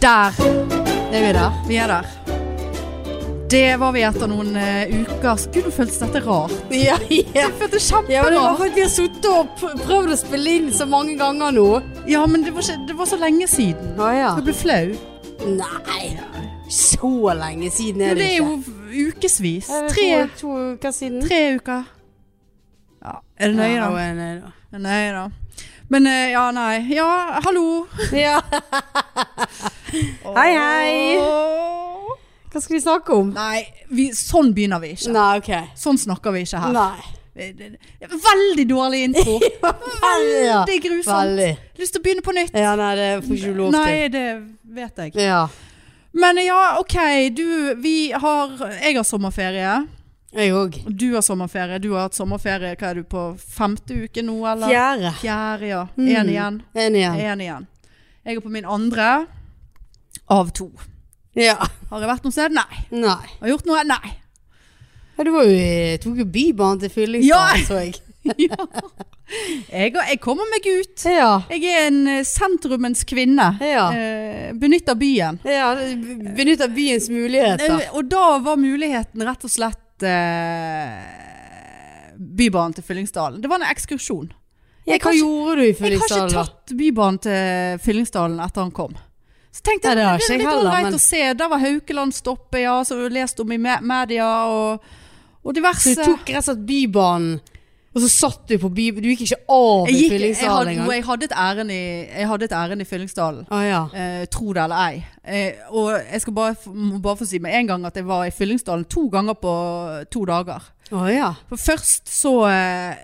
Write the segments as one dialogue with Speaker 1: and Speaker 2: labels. Speaker 1: Der
Speaker 2: Er vi der?
Speaker 1: vi er der. Det var vi etter noen eh, uker. Skulle føltes dette rart.
Speaker 2: Ja, ja.
Speaker 1: Jeg følte
Speaker 2: ja men det var
Speaker 1: kjemperart.
Speaker 2: fordi vi har suttet og pr- prøvd å spille inn så mange ganger nå.
Speaker 1: Ja, men det var, ikke, det var så lenge siden.
Speaker 2: Å ja.
Speaker 1: Jeg ble flau.
Speaker 2: Nei, så lenge siden
Speaker 1: Ja,
Speaker 2: er
Speaker 1: det
Speaker 2: det
Speaker 1: er
Speaker 2: ikke.
Speaker 1: jo ukevis.
Speaker 2: Er det
Speaker 1: Tre,
Speaker 2: To, to uker siden.
Speaker 1: tre uker. Ja, er det nøye,
Speaker 2: Ja,
Speaker 1: da?
Speaker 2: og en, eh,
Speaker 1: Er det Nøye, da. Men eh, ja, nei. Ja, hallo.
Speaker 2: Ja. Hei, hei.
Speaker 1: Åh.
Speaker 2: Hva skal vi snakke om?
Speaker 1: Nei, vi, sånn begynner vi ikke.
Speaker 2: Nei, ok.
Speaker 1: Sånn snakker vi ikke her. Eh,
Speaker 2: Nei.
Speaker 1: Veldig dårlig intro.
Speaker 2: Ja,
Speaker 1: Veldig grusomt.
Speaker 2: Veldig.
Speaker 1: Lyst til å begynne på nytt.
Speaker 2: Ja, nei, det får ikke du lov til.
Speaker 1: Nei, det vet jeg.
Speaker 2: Ja.
Speaker 1: Men ja, OK. Du, vi har Jeg har sommerferie.
Speaker 2: Jeg òg.
Speaker 1: Du har sommerferie. Du har hatt sommerferie. Hva er du på femte uke nå, eller?
Speaker 2: Fjerde.
Speaker 1: Fjerde, ja.
Speaker 2: Mm.
Speaker 1: Én igjen.
Speaker 2: En igjen.
Speaker 1: Én igjen. Jeg er på min andre av to.
Speaker 2: Ja.
Speaker 1: Har jeg vært noe sted? Nei.
Speaker 2: Nei.
Speaker 1: Har jeg gjort noe? Nei.
Speaker 2: Ja, du var jo, i- tok jo Bybanen til Fyllingstad,
Speaker 1: Ja.
Speaker 2: så jeg.
Speaker 1: Jeg, jeg kommer meg ut.
Speaker 2: Ja.
Speaker 1: Jeg er en eh, sentrumens kvinne.
Speaker 2: Ja.
Speaker 1: Eh, benytter byen.
Speaker 2: Ja, b- benytt av byens muligheter.
Speaker 1: Eh, Og da var muligheten rett og slett eh, Bybanen til Fyllingsdalen. Det var en ekskursjon.
Speaker 2: Ja,
Speaker 1: Jeg
Speaker 2: hva
Speaker 1: har ikke-
Speaker 2: gjorde du i
Speaker 1: Jeg har ikke
Speaker 2: Fyllingsdalen? da?
Speaker 1: tatt Bybanen til Fyllingsdalen etter han kom. Så tenkte
Speaker 2: Nei,
Speaker 1: jeg,
Speaker 2: det
Speaker 1: det,
Speaker 2: har ikke
Speaker 1: er
Speaker 2: jeg
Speaker 1: litt
Speaker 2: heller,
Speaker 1: ålreit
Speaker 2: men-
Speaker 1: å se. Der var Haukeland stoppet, ja. Så vi lest om i me- media og, og
Speaker 2: Så
Speaker 1: diverse.
Speaker 2: du tok rett og slett Bybanen, og så satt du på Bybanen? Du gikk ikke av
Speaker 1: jeg,
Speaker 2: i
Speaker 1: gikk, jeg,
Speaker 2: Fyllingsdalen
Speaker 1: hadde, jo,
Speaker 2: engang?
Speaker 1: jeg hadde et ærend i, jeg hadde et ærend i Fyllingsdalen.
Speaker 2: Å ja.
Speaker 1: Eh, tro det eller ei. Eh, og jeg skal bare, f- må bare få si med en gang at jeg var i Fyllingsdalen to ganger på to dager.
Speaker 2: Å ja.
Speaker 1: For først så eh,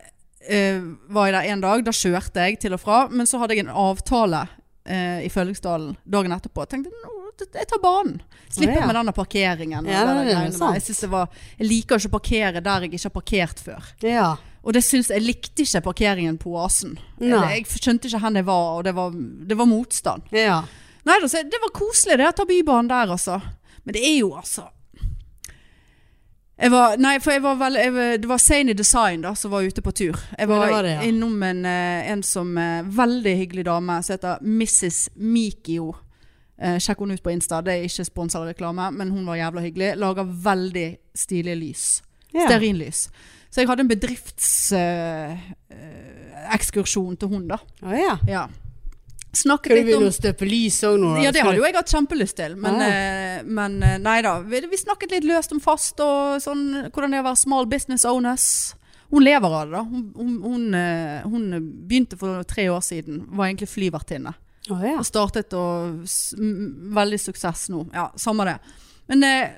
Speaker 1: eh, var jeg der en dag, da kjørte jeg til og fra, men så hadde jeg en avtale eh, i Føllingsdalen dagen etterpå. Jeg tenkte, nå, t- jeg tar banen. Slipper
Speaker 2: Å, ja.
Speaker 1: med denne parkeringen. og det
Speaker 2: Ja,
Speaker 1: der
Speaker 2: det er
Speaker 1: greiene der.
Speaker 2: sant.
Speaker 1: jeg, synes det var, jeg liker ikke å parkere der jeg ikke har parkert før.
Speaker 2: ja.
Speaker 1: Og det synes jeg likte ikke parkeringen på oasen.
Speaker 2: Nei.
Speaker 1: Jeg skjønte ikke hvor jeg var, og det var, det var motstand.
Speaker 2: Ja.
Speaker 1: Nei, da, så det var koselig det, å ta bybanen der, altså. Men det er jo, altså jeg var, Nei, for jeg var vel jeg, var- Det var Sane Design da, som var ute på tur. Jeg
Speaker 2: Ja,
Speaker 1: var,
Speaker 2: det var det, ja.
Speaker 1: innom en, eh, en som eh, Veldig hyggelig dame som heter Mrs. Mikio. Eh, sjekk henne ut på Insta. Det er ikke sponsa reklame, men hun var jævla hyggelig. Lager veldig stilige lys.
Speaker 2: Ja.
Speaker 1: Stearinlys. Så jeg hadde en bedriftsekskursjon til hun, da.
Speaker 2: Å ja.
Speaker 1: Ja. Snakket
Speaker 2: Skal du
Speaker 1: litt om
Speaker 2: begynne å støpe lys òg nå? da?
Speaker 1: ja, det
Speaker 2: Skal
Speaker 1: hadde
Speaker 2: du-
Speaker 1: jo jeg hatt kjempelyst til, men,
Speaker 2: Ah.
Speaker 1: eh, men eh, nei da. Vi, vi snakket litt løst om fast og sånn, hvordan det er å være small business owners. Hun lever av det, da. Hun, hun, hun, eh, hun begynte for tre år siden, var egentlig flyvertinne.
Speaker 2: Å ja.
Speaker 1: Og startet og s- m- veldig suksess nå. Ja, samme det. Men eh,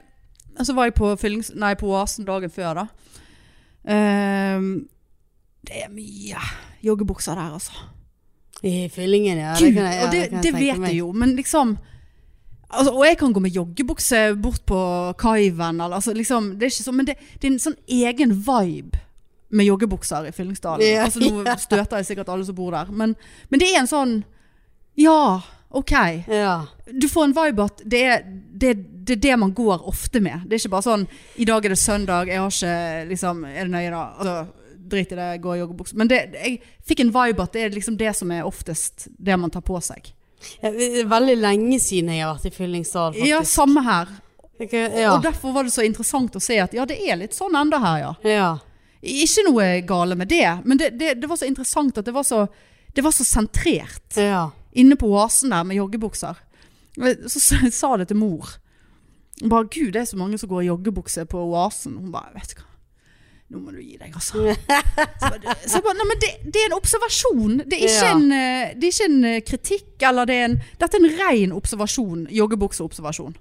Speaker 1: så var jeg på, fyllings, nei, på Oasen dagen før, da. Ehm, det er mye joggebukser der, altså.
Speaker 2: I Fyllingen, ja.
Speaker 1: Gud,
Speaker 2: kan jeg- ja,
Speaker 1: og det,
Speaker 2: kan jeg
Speaker 1: det
Speaker 2: tenke
Speaker 1: vet
Speaker 2: meg.
Speaker 1: jeg jo, men liksom altså, Og jeg kan gå med joggebukse bort på kaiven, eller altså, liksom Det er ikke sånn, men det, det er en sånn egen vibe med joggebukser i Fyllingsdalen.
Speaker 2: Ja,
Speaker 1: altså, nå støter jeg sikkert alle som bor der, men, men det er en sånn Ja, OK.
Speaker 2: Ja.
Speaker 1: Du får en vibe at det er det, det, er det man går ofte med. Det er ikke bare sånn I dag er det søndag, jeg har ikke liksom Er det nøye, da? Altså, drit i det, gå i joggebukse. Men det, jeg fikk en vibe at det er liksom det som er oftest det man tar på seg.
Speaker 2: Ja, Det er veldig lenge siden jeg har vært i Fyllingsdalen, faktisk.
Speaker 1: Ja, samme her.
Speaker 2: Jeg kan- ja.
Speaker 1: Og derfor var det så interessant å se at ja, det er litt sånn enda her, ja.
Speaker 2: ja.
Speaker 1: Ikke noe gale med det, men det, det, det var så interessant at det var så, det var så sentrert
Speaker 2: Ja.
Speaker 1: inne på oasen der med joggebukser. Eh, Så s- sa det til mor. Hun bare, gud, det er så mange som går i joggebukse på oasen. Hun bare, vet du hva. Nå må du gi deg, altså. Så jeg bare, så jeg bare, nei, men det, det er en observasjon. Det er, ikke
Speaker 2: Ja.
Speaker 1: en, eh, det er ikke en eh, kritikk, eller det er en, dette er en ren observasjon, joggebukseobservasjon.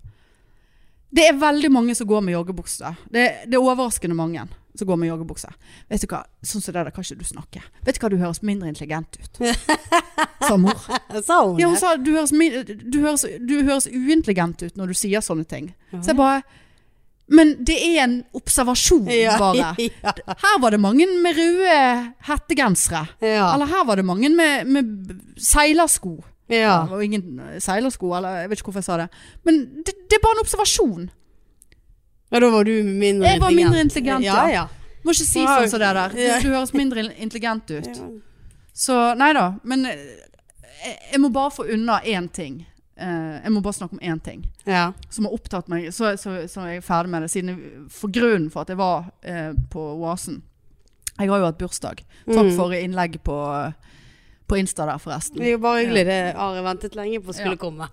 Speaker 1: Det er veldig mange som går med joggebukse. Det, det er overraskende mange som går med joggebukse. Vet du hva, sånn som det der kan ikke du snakke. Vet du hva, du høres mindre intelligent ut. Sa mor.
Speaker 2: Sa hun
Speaker 1: Ja, hun
Speaker 2: det?
Speaker 1: sa du høres, min- du, høres, du høres uintelligent ut når du sier sånne ting. Så jeg bare Men det er en observasjon,
Speaker 2: Ja.
Speaker 1: bare.
Speaker 2: Ja.
Speaker 1: Her var det mange med røde hettegensere.
Speaker 2: Ja.
Speaker 1: Eller her var det mange med, med b- seilersko.
Speaker 2: ja.
Speaker 1: Det var jo ingen eh, seilersko, eller jeg vet ikke hvorfor jeg sa det. Men det, det er bare en observasjon.
Speaker 2: Ja, da var du mindre
Speaker 1: Jeg var mindre intelligent, ja.
Speaker 2: ja.
Speaker 1: Må ikke si
Speaker 2: Wow.
Speaker 1: sånn som det der. Du,
Speaker 2: Ja.
Speaker 1: du høres mindre intelligent ut. Så nei da. Men eh, jeg, jeg må bare få unna én ting eh, Jeg må bare snakke om én ting
Speaker 2: Ja.
Speaker 1: som har opptatt meg, så, så, så er jeg ferdig med det, siden jeg- for grunnen for at jeg var eh, på Oasen. Jeg har jo hatt bursdag. Takk
Speaker 2: Mm.
Speaker 1: for innlegg på, på Insta der, forresten.
Speaker 2: Det er jo bare hyggelig. Det har jeg ventet lenge på skulle
Speaker 1: Ja.
Speaker 2: komme.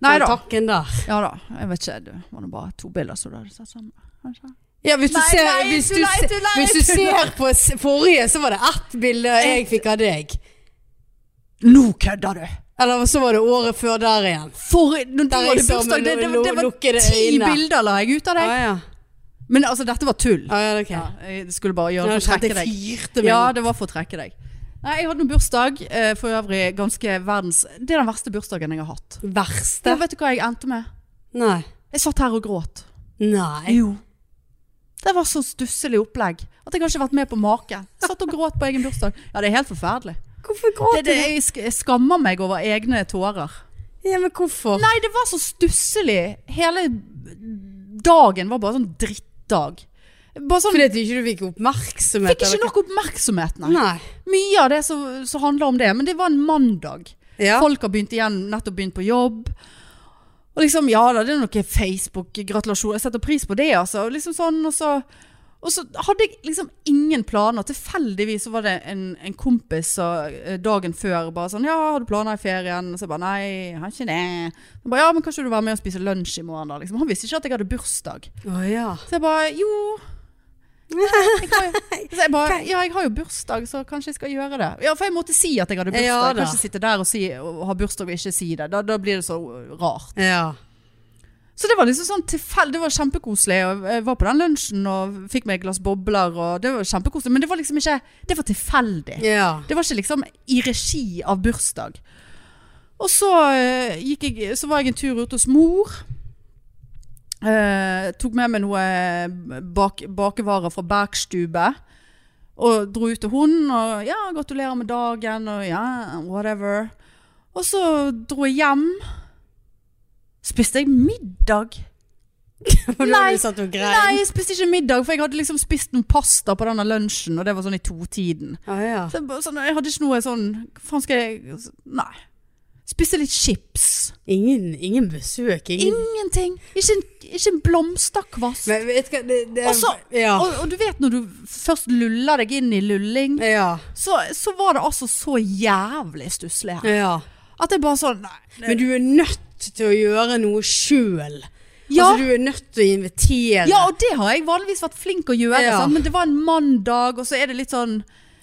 Speaker 1: Nei
Speaker 2: Den
Speaker 1: da.
Speaker 2: Takken der.
Speaker 1: Ja da. Jeg vet ikke, det var nå bare to bilder som du hadde sett sammen. kanskje?
Speaker 2: Ja, hvis du
Speaker 1: Nei,
Speaker 2: ser,
Speaker 1: nei,
Speaker 2: hvis
Speaker 1: du-
Speaker 2: du,
Speaker 1: nei,
Speaker 2: se-
Speaker 1: du- nei,
Speaker 2: hvis
Speaker 1: du-
Speaker 2: du ser på s- forrige, så var det ett bilde jeg fikk av deg.
Speaker 1: Nå kødder du!
Speaker 2: Eller så var det året før der igjen.
Speaker 1: For, når du
Speaker 2: Der jeg
Speaker 1: hadde
Speaker 2: så med
Speaker 1: bursdag, det, det,
Speaker 2: lo-
Speaker 1: det var
Speaker 2: lukkede
Speaker 1: ti
Speaker 2: øyne.
Speaker 1: bilder la jeg ut av deg.
Speaker 2: Ah, ja.
Speaker 1: Men altså, dette var tull.
Speaker 2: Ah, ja, det er ok.
Speaker 1: Ja, jeg skulle bare gjøre
Speaker 2: Nå
Speaker 1: det for å
Speaker 2: kjente
Speaker 1: trekke
Speaker 2: jeg
Speaker 1: deg.
Speaker 2: fyrte
Speaker 1: Ja,
Speaker 2: meg.
Speaker 1: det var for å trekke deg. Nei, jeg hadde en bursdag eh, for øvrig ganske verdens Det er den verste bursdagen jeg har hatt. Ja,
Speaker 2: Verste?
Speaker 1: vet du hva jeg endte med?
Speaker 2: Nei.
Speaker 1: Jeg satt her og gråt.
Speaker 2: Nei.
Speaker 1: Jo. Det var så stusselig opplegg at jeg har ikke vært med på maken. Jeg Satt og gråt på egen bursdag. Ja, det er helt forferdelig.
Speaker 2: Hvorfor
Speaker 1: Det,
Speaker 2: gråter
Speaker 1: det,
Speaker 2: du?
Speaker 1: jeg, sk jeg skammer meg over egne tårer.
Speaker 2: Ja, men hvorfor?
Speaker 1: Nei, det var så stusselig. Hele dagen var bare sånn drittdag. Bare sånn
Speaker 2: Fordi at du ikke fikk oppmerksomhet?
Speaker 1: Fikk ikke nok oppmerksomhet, nei.
Speaker 2: Nei.
Speaker 1: Mye av det som som handler om det, men det var en mandag.
Speaker 2: Ja.
Speaker 1: Folk har begynt igjen, nettopp begynt på jobb. Og liksom, ja da, det er noe Facebook-gratulasjon. Jeg setter pris på det, altså. Og liksom sånn, og så... Og så hadde jeg liksom ingen planer. Tilfeldigvis så var det en, en kompis som eh, dagen før bare sånn 'Ja, har du planer i ferien?' Og så jeg bare 'Nei, jeg har ikke det'. Han bare 'Ja, men kanskje du vil være med og spise lunsj i morgen', da? Liksom. Han visste ikke at jeg hadde bursdag.
Speaker 2: Å ja.
Speaker 1: Så jeg bare 'Jo'. Jeg har jo, så jeg bare, ja, jeg har jo bursdag, så kanskje jeg skal gjøre det. Ja, For jeg måtte si at jeg hadde bursdag.
Speaker 2: Ja,
Speaker 1: jeg kan
Speaker 2: da.
Speaker 1: ikke sitte der og, si, og ha bursdag og ikke si det. Da, da blir det så øh, rart.
Speaker 2: Ja.
Speaker 1: Så det var liksom sånn tilfeldig. Det var kjempekoselig. Og jeg var på den lunsjen og fikk meg et glass bobler, og det var kjempekoselig. Men det var liksom ikke Det var tilfeldig.
Speaker 2: Ja.
Speaker 1: Det var ikke liksom i regi av bursdag. Og så, eh, gikk jeg, så var jeg en tur ute hos mor. Eh, tok med meg noe eh, bak, bakevarer fra Bergstube. Og dro ut til hun og ja, gratulerer med dagen og ja, whatever. Og så dro jeg hjem. Spiste jeg middag?
Speaker 2: For du
Speaker 1: Nei.
Speaker 2: hadde satt og grein.
Speaker 1: Nei, jeg spiste ikke middag, for jeg hadde liksom spist noe pasta på denne lunsjen, og det var sånn i totiden.
Speaker 2: Å ja.
Speaker 1: Så jeg, bare sånn, jeg hadde ikke noe sånn Hva faen skal jeg Nei. Spiste litt chips.
Speaker 2: Ingen, ingen besøk, ingen
Speaker 1: Ingenting. Ikke en, ikke en blomsterkvast.
Speaker 2: Men vet du hva, det, det
Speaker 1: Og så-
Speaker 2: ja.
Speaker 1: Altså, Og, og du vet når du først luller deg inn i lulling,
Speaker 2: ja.
Speaker 1: så, så var det altså så jævlig stusslig her.
Speaker 2: Ja.
Speaker 1: At jeg bare sånn Nei.
Speaker 2: Men altså, du er nødt til å gjøre noe sjøl.
Speaker 1: Ja,
Speaker 2: Altså, du er nødt til å invitere.
Speaker 1: ja, og det har jeg vanligvis vært flink å gjøre,
Speaker 2: Ja.
Speaker 1: sant? men det var en mandag, og så er det litt sånn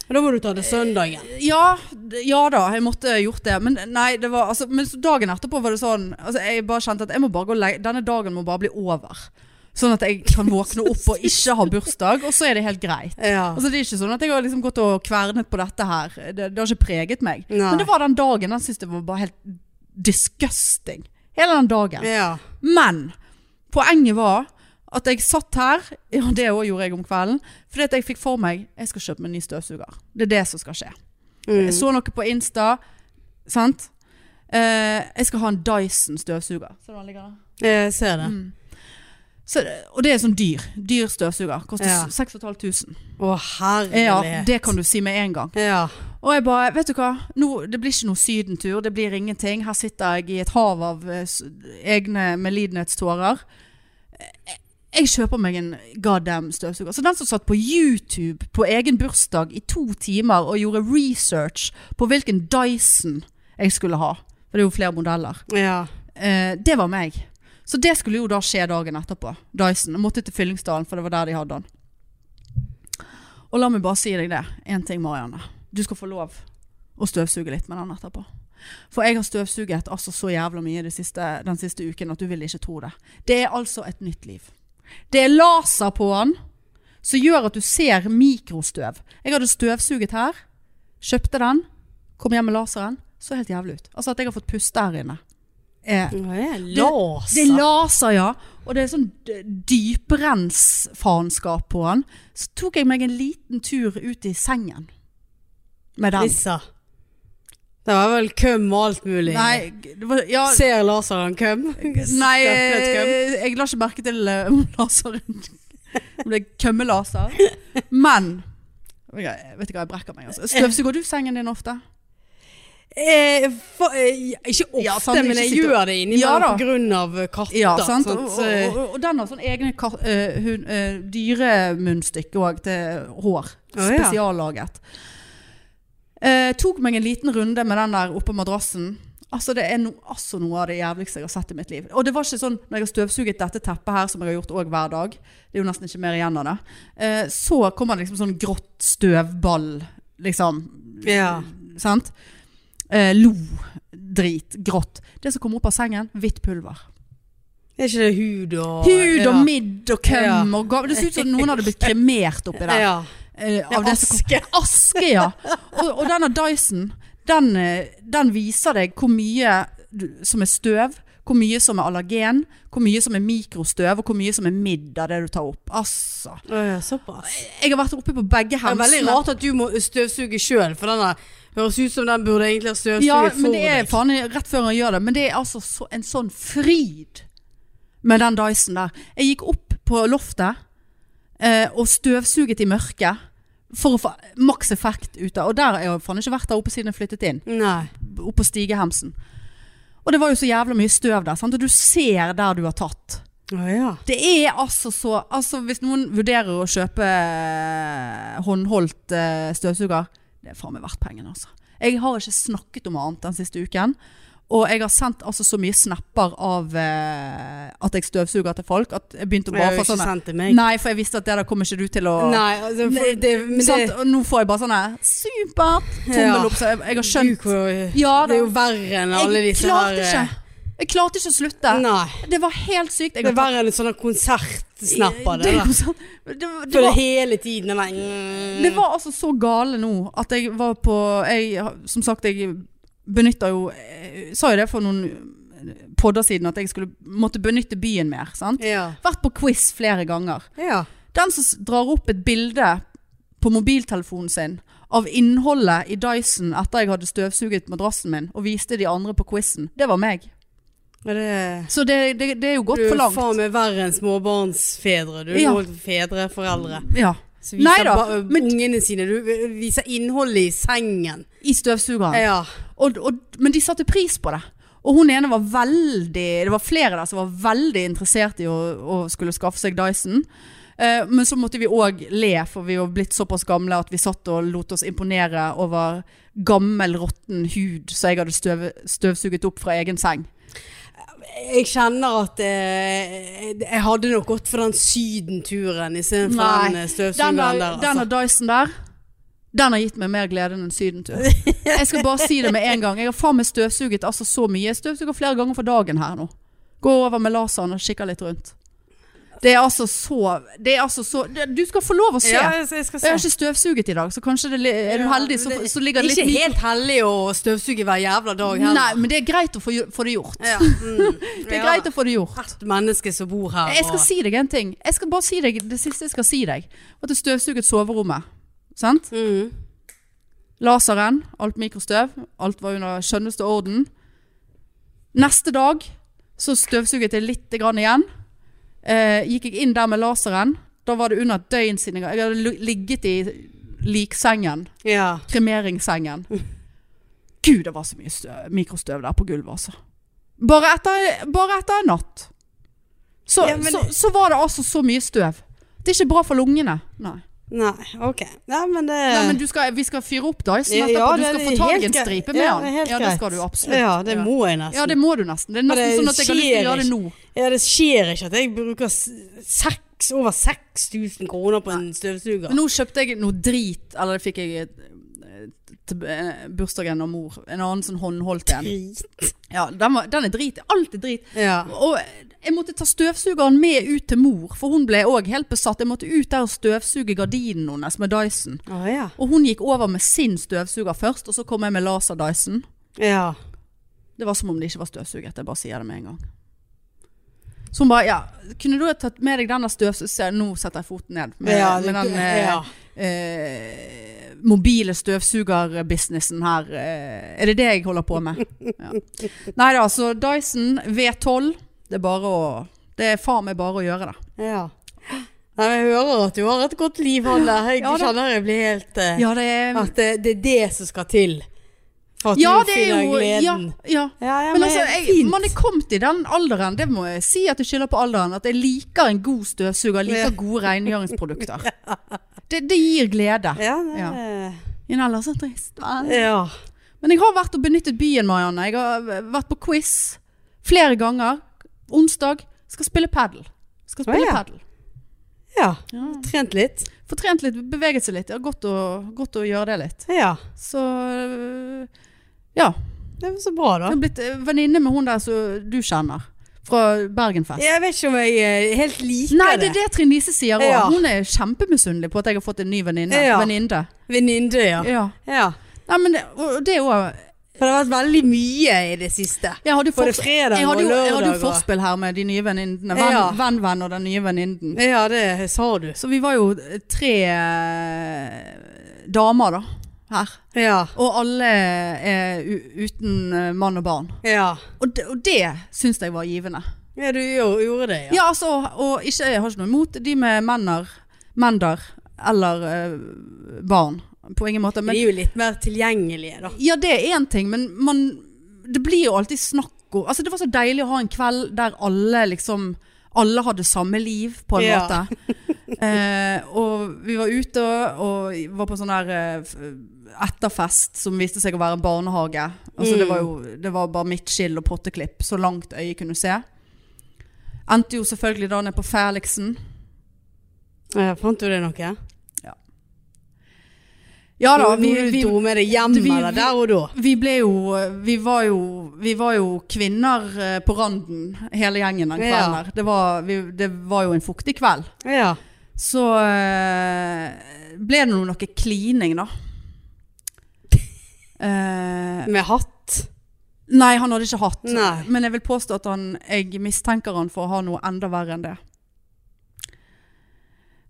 Speaker 2: Og da må du ta det søndagen.
Speaker 1: Ja, d- ja da, jeg måtte gjort det. Men nei, det var altså Men så dagen etterpå var det sånn altså Jeg bare kjente at jeg må bare gå og legge Denne dagen må bare bli over. Sånn at jeg kan våkne opp og ikke ha bursdag, og så er det helt greit.
Speaker 2: Ja.
Speaker 1: Altså Det er ikke sånn at jeg har liksom gått og kvernet på dette her. Det, det har ikke preget meg.
Speaker 2: Nei.
Speaker 1: Men det var den dagen. Den syntes jeg var bare helt disgusting. Hele den dagen.
Speaker 2: Ja.
Speaker 1: Men poenget var at jeg satt her, ja det også gjorde jeg om kvelden, fordi at jeg fikk for meg, jeg skal kjøpe meg en ny støvsuger. Det er det som skal skje. Jeg så noe på Insta, sant? Eh, jeg skal ha en Dyson støvsuger. Ser du hva den ligger der?
Speaker 2: Jeg ser det.
Speaker 1: Mm. Så, og det er sånn dyr, dyr støvsuger, koster
Speaker 2: Ja.
Speaker 1: 6500.
Speaker 2: Å,
Speaker 1: Ja,
Speaker 2: herlighet.
Speaker 1: det kan du si med en gang.
Speaker 2: Ja.
Speaker 1: Og jeg bare, vet du hva, Nå, det blir ikke noe sydentur, det blir ingenting. Her sitter jeg i et hav av eh, s- egne medlidenhetstårer. Eh, Jeg kjøper meg en goddamn støvsuger. Så den som satt på YouTube på egen bursdag i to timer og gjorde research på hvilken Dyson jeg skulle ha, for det er jo flere modeller,
Speaker 2: Ja.
Speaker 1: eh, det var meg. Så det skulle jo da skje dagen etterpå. Dyson. Jeg måtte til Fyllingsdalen, for det var der de hadde den. Og la meg bare si deg det. Én ting, Marianne. Du skal få lov å støvsuge litt med den etterpå. For jeg har støvsuget altså så jævla mye det siste, den siste uken at du vil ikke tro det. Det er altså et nytt liv. Det er laser på den som gjør at du ser mikrostøv. Jeg hadde støvsuget her, kjøpte den, kom hjem med laseren, så helt jævlig ut. Altså at jeg har fått puste her inne. eh, Er
Speaker 2: Å, jeg er
Speaker 1: det-
Speaker 2: laser.
Speaker 1: det er laser, ja. Og det er sånn d- dyprensfaenskap på han. Så tok jeg meg en liten tur ut i sengen med den.
Speaker 2: Lissa. Det var vel køm og alt mulig.
Speaker 1: Nei, g- det var, ja,
Speaker 2: Ser laseren køm?
Speaker 1: nei
Speaker 2: Stemplet køm.
Speaker 1: eh, jeg la ikke merke til eh, om laseren Om det er kømmelaser. Men jeg vet ikke hva, jeg brekker meg. Altså. Støvsuger du sengen din ofte?
Speaker 2: Eh, for, eh, ikke ofte,
Speaker 1: Ja, sant,
Speaker 2: men
Speaker 1: ikke
Speaker 2: jeg
Speaker 1: sitte-
Speaker 2: gjør det
Speaker 1: Ja,
Speaker 2: innimellom
Speaker 1: da.
Speaker 2: på grunn av katter.
Speaker 1: Ja, sant?
Speaker 2: sant,
Speaker 1: Og,
Speaker 2: så- eh,
Speaker 1: og, og, og den har sånn egne ka- eh, hun- eh, dyremunnstykke òg til eh, hår.
Speaker 2: Å, ja.
Speaker 1: Spesiallaget. Eh, tok meg en liten runde med den der oppå madrassen. Altså Det er no, altså noe av det jævligste jeg har sett i mitt liv. Og det var ikke sånn når jeg har støvsuget dette teppet her, som jeg har gjort òg hver dag, det er jo nesten ikke mer igjen av det, eh, så kommer det liksom sånn grått støvball, liksom.
Speaker 2: Ja.
Speaker 1: Sant? Eh, lo, drit, grått. Det som kommer opp av sengen, hvitt pulver.
Speaker 2: Er ikke det hud og eh,
Speaker 1: Hud og
Speaker 2: ja.
Speaker 1: midd og køm
Speaker 2: Ja.
Speaker 1: og gav. Det ser ut som noen hadde blitt kremert oppi der.
Speaker 2: Ja.
Speaker 1: Eh,
Speaker 2: Ja,
Speaker 1: av det som kom- Aske, ja. Og, og denne Dyson, den, eh, den viser deg hvor mye du- som er støv, hvor mye som er allergen, hvor mye som er mikrostøv, og hvor mye som er midd av det du tar opp. Altså.
Speaker 2: Å, ja, såpass.
Speaker 1: Jeg har vært oppe på begge
Speaker 2: Det er veldig
Speaker 1: hemsene.
Speaker 2: rart at du må støvsuge sjøl, for den der høres ut som den burde egentlig ha støvsuget
Speaker 1: Ja,
Speaker 2: for
Speaker 1: men det er
Speaker 2: deg.
Speaker 1: faen i- rett før han gjør det. Men det er altså så, en sånn fryd med den Dyson der. Jeg gikk opp på loftet eh, og støvsuget i mørket for å få maks effekt ut av Og der har jeg faen ikke vært der oppe siden jeg flyttet inn.
Speaker 2: Nei.
Speaker 1: Opp på stigehemsen. Og det var jo så jævla mye støv der. Sant? Og du ser der du har tatt.
Speaker 2: Å ja.
Speaker 1: Det er altså så altså Hvis noen vurderer å kjøpe eh, håndholdt eh, støvsuger, det er faen meg verdt pengene, altså. Jeg har ikke snakket om annet den siste uken. Og jeg har sendt altså så mye snapper av eh, at jeg støvsuger til folk, at jeg begynte å
Speaker 2: Jeg har
Speaker 1: bare få
Speaker 2: jo ikke
Speaker 1: sånne
Speaker 2: sendt til meg.
Speaker 1: Nei, for jeg visste at det der kommer ikke du til å
Speaker 2: sånn Nei, altså, for det, men det,
Speaker 1: Sant? Og nå får jeg bare sånne Supert!
Speaker 2: Ja.
Speaker 1: Tommel opp. Så jeg, jeg har skjønt
Speaker 2: Du,
Speaker 1: Ja
Speaker 2: det er jo
Speaker 1: da.
Speaker 2: verre enn alle
Speaker 1: Jeg
Speaker 2: disse
Speaker 1: klarte
Speaker 2: her, eh,
Speaker 1: ikke. Jeg klarte ikke å slutte.
Speaker 2: Nei.
Speaker 1: Det var helt sykt. Jeg
Speaker 2: Det
Speaker 1: har
Speaker 2: er
Speaker 1: tatt-
Speaker 2: verre enn sånne konsertsnapper. Det,
Speaker 1: er
Speaker 2: da.
Speaker 1: jo sant. det, det,
Speaker 2: For det
Speaker 1: var,
Speaker 2: hele tiden er mm.
Speaker 1: det var altså så gale nå at jeg var på jeg, Som sagt, jeg benytter jo jeg Sa jo det for noen podder siden at jeg skulle måtte benytte byen mer. Sant?
Speaker 2: ja.
Speaker 1: Vært på quiz flere ganger.
Speaker 2: ja.
Speaker 1: Den som s- drar opp et bilde på mobiltelefonen sin av innholdet i Dyson etter jeg hadde støvsuget madrassen min og viste de andre på quizen, det var meg.
Speaker 2: Og det
Speaker 1: Så det, det, det er jo
Speaker 2: Du
Speaker 1: gått
Speaker 2: er
Speaker 1: for langt.
Speaker 2: faen meg verre enn småbarnsfedre. Du er
Speaker 1: Ja.
Speaker 2: jo fedre, foreldre.
Speaker 1: Ja.
Speaker 2: Som viser
Speaker 1: Neida,
Speaker 2: ba-
Speaker 1: men-
Speaker 2: ungene sine. Du viser innholdet i sengen.
Speaker 1: I støvsugeren.
Speaker 2: Ja.
Speaker 1: og, og, men de satte pris på det. Og hun ene var veldig Det var flere der som var veldig interessert i å, å skulle skaffe seg Dyson. Eh, men så måtte vi òg le, for vi var blitt såpass gamle at vi satt og lot oss imponere over gammel, råtten hud som jeg hadde støv, støvsuget opp fra egen seng.
Speaker 2: Jeg kjenner at eh, jeg hadde nok gått for den sydenturen istedenfor
Speaker 1: Nei,
Speaker 2: den eh,
Speaker 1: Den
Speaker 2: støvsugeren
Speaker 1: der,
Speaker 2: der.
Speaker 1: den
Speaker 2: Altså.
Speaker 1: der Dyson der, den har gitt meg mer glede enn en sydentur. Jeg skal bare si det med en gang. Jeg har faen meg støvsuget altså så mye. Jeg støvsuger flere ganger for dagen her nå. Går over med laseren og kikker litt rundt. Det er altså så Det er altså så det, Du skal få lov å se.
Speaker 2: Ja,
Speaker 1: jeg,
Speaker 2: jeg, jeg skal se.
Speaker 1: har ikke støvsuget i dag, så kanskje det, li- er du heldig, så, så ligger det litt
Speaker 2: Ikke
Speaker 1: mye-
Speaker 2: helt heldig å støvsuge hver jævla dag heller.
Speaker 1: Nei, men det er greit å få, gjo- få det gjort.
Speaker 2: Ja, mm.
Speaker 1: Det er greit å få det gjort.
Speaker 2: Hvert menneske som bor her.
Speaker 1: Jeg skal
Speaker 2: og-
Speaker 1: si deg en ting. Jeg skal bare si deg det siste jeg skal si deg. At jeg støvsuget soverommet. Sant?
Speaker 2: Mm.
Speaker 1: Laseren, alt mikrostøv, alt var under skjønneste orden. Neste dag så støvsuget jeg litt grann igjen. Eh, gikk jeg inn der med laseren. Da var det under et døgn siden jeg, jeg hadde lu- ligget i liksengen,
Speaker 2: Ja.
Speaker 1: kremeringssengen. Gud, det var så mye støv, mikrostøv der på gulvet, altså. Bare etter, bare etter en natt. Så,
Speaker 2: Ja, men-
Speaker 1: så, så var det altså så mye støv. Det er ikke bra for lungene. Nei.
Speaker 2: Nei, ok. Nei, men det
Speaker 1: Nei, men du skal, vi skal fyre opp Dyson etterpå.
Speaker 2: Eh. Ja,
Speaker 1: du
Speaker 2: det
Speaker 1: skal
Speaker 2: er
Speaker 1: få tak
Speaker 2: helt
Speaker 1: i en
Speaker 2: greit.
Speaker 1: stripe med
Speaker 2: Ja, det er
Speaker 1: den.
Speaker 2: helt
Speaker 1: Ja, det
Speaker 2: greit.
Speaker 1: skal du absolutt.
Speaker 2: Ja, det må jeg
Speaker 1: Ja,
Speaker 2: nesten.
Speaker 1: det må du nesten. Det er
Speaker 2: Men det
Speaker 1: nesten sånn at jeg har lyst til å gjøre det nå.
Speaker 2: Ja, det skjer ikke at jeg bruker s- seks, over 6000 kroner på en støvsuger.
Speaker 1: Men nå kjøpte jeg noe drit, eller det fikk jeg eh, til eh, bursdagen av mor. En annen sånn håndholdt en.
Speaker 2: Drit.
Speaker 1: Ja, den, var, den er drit. Alt er drit.
Speaker 2: Ja.
Speaker 1: Og jeg måtte ta støvsugeren med ut til mor, for hun ble òg helt besatt. Jeg måtte ut der og støvsuge gardinen hennes med Dyson.
Speaker 2: Å ja.
Speaker 1: Og hun gikk over med sin støvsuger først, og så kom jeg med laser-Dyson.
Speaker 2: Ja.
Speaker 1: Det var som om det ikke var støvsuget. Jeg bare sier det med en gang. Så hun bare ja, kunne du ha tatt med deg denne støvsugeren Nå setter jeg foten ned med,
Speaker 2: ja,
Speaker 1: med
Speaker 2: det-
Speaker 1: den eh,
Speaker 2: ja.
Speaker 1: eh, mobile støvsugerbusinessen her. Eh, er det det jeg holder på med? Ja. Nei da, så Dyson V12. Det er bare å Det er faen meg bare å gjøre det.
Speaker 2: ja. Nei, men jeg hører at du har et godt liv, Hanne. Jeg
Speaker 1: Ja, da.
Speaker 2: kjenner jeg blir helt eh,
Speaker 1: Ja, det er
Speaker 2: At det, det er det som skal til For at
Speaker 1: Ja,
Speaker 2: du
Speaker 1: det er
Speaker 2: finner
Speaker 1: jo ja,
Speaker 2: gleden.
Speaker 1: ja.
Speaker 2: Ja, ja,
Speaker 1: Men altså, jeg,
Speaker 2: fint.
Speaker 1: man er kommet i den alderen, det må jeg si at jeg skylder på alderen, at jeg liker en god støvsuger, liker gode rengjøringsprodukter. Det, det gir glede.
Speaker 2: ja, det,
Speaker 1: Ja.
Speaker 2: ja.
Speaker 1: Men ellers er det trist. hva?
Speaker 2: Ja.
Speaker 1: Men jeg har vært og benyttet byen, Marianne. Jeg har vært på quiz flere ganger. Onsdag skal spille padel. Skal spille
Speaker 2: Å, ja.
Speaker 1: padel.
Speaker 2: ja.
Speaker 1: Ja.
Speaker 2: Trent litt.
Speaker 1: Fortrent litt, beveget seg litt. Det er godt å, godt å gjøre det litt.
Speaker 2: Ja.
Speaker 1: Så øh, ja.
Speaker 2: Det var så bra, da.
Speaker 1: Jeg har blitt øh, venninne med hun der som du kjenner. Fra Bergenfest.
Speaker 2: Jeg vet ikke om jeg eh, helt liker
Speaker 1: Nei, det er det Trine Lise sier òg.
Speaker 2: Ja.
Speaker 1: Hun er kjempemisunnelig på at jeg har fått en ny venninne.
Speaker 2: Ja.
Speaker 1: Venninne.
Speaker 2: Venninne, ja.
Speaker 1: Ja.
Speaker 2: ja.
Speaker 1: Nei, men det, og det er jo
Speaker 2: For det har vært veldig mye i det siste.
Speaker 1: Jeg hadde jo
Speaker 2: Både
Speaker 1: forspill-
Speaker 2: fredag
Speaker 1: jeg hadde
Speaker 2: og
Speaker 1: jo, jeg hadde jo
Speaker 2: lørdag. og-
Speaker 1: forspill her med de nye venninnene. Venn,
Speaker 2: Ja.
Speaker 1: venn, venn og den nye venninnen.
Speaker 2: Ja, det sa du.
Speaker 1: Så vi var jo tre eh, damer, da. Her.
Speaker 2: Ja.
Speaker 1: Og alle er u uten eh, mann og barn.
Speaker 2: Ja.
Speaker 1: Og det, og det syns jeg var givende.
Speaker 2: Ja, du jo- gjorde det,
Speaker 1: Ja, altså, og ikke, jeg har ikke noe imot de med menner, mender eller eh, barn. På ingen måte. Men
Speaker 2: Men, de er jo litt mer tilgjengelige, da.
Speaker 1: Ja, det er én ting, men man, det blir jo alltid snakk om altså, Det var så deilig å ha en kveld der alle liksom alle hadde samme liv, på en
Speaker 2: Ja.
Speaker 1: måte. Eh, og vi var ute og, og var på sånn der eh, f- etterfest som viste seg å være en barnehage. Altså, det, var jo,
Speaker 2: Mm.
Speaker 1: det var bare midtskill og potteklipp, så langt øyet kunne se. Endte jo selvfølgelig da ned på Felixen.
Speaker 2: Ja, fant du det noe?
Speaker 1: Ja da, vi,
Speaker 2: Noe du
Speaker 1: vi,
Speaker 2: dro med deg hjem,
Speaker 1: vi-
Speaker 2: eller der og da?
Speaker 1: Vi ble jo Vi var jo, vi var jo kvinner eh, på randen, hele gjengen den kvelden
Speaker 2: Ja.
Speaker 1: der. Det, var- vi- det var jo en fuktig kveld.
Speaker 2: Ja.
Speaker 1: Så eh, ble det nå noe klining, da. Eh,
Speaker 2: Med hatt?
Speaker 1: nei, han hadde ikke hatt.
Speaker 2: Nei.
Speaker 1: Men jeg vil påstå at han, jeg mistenker han for å ha noe enda verre enn det.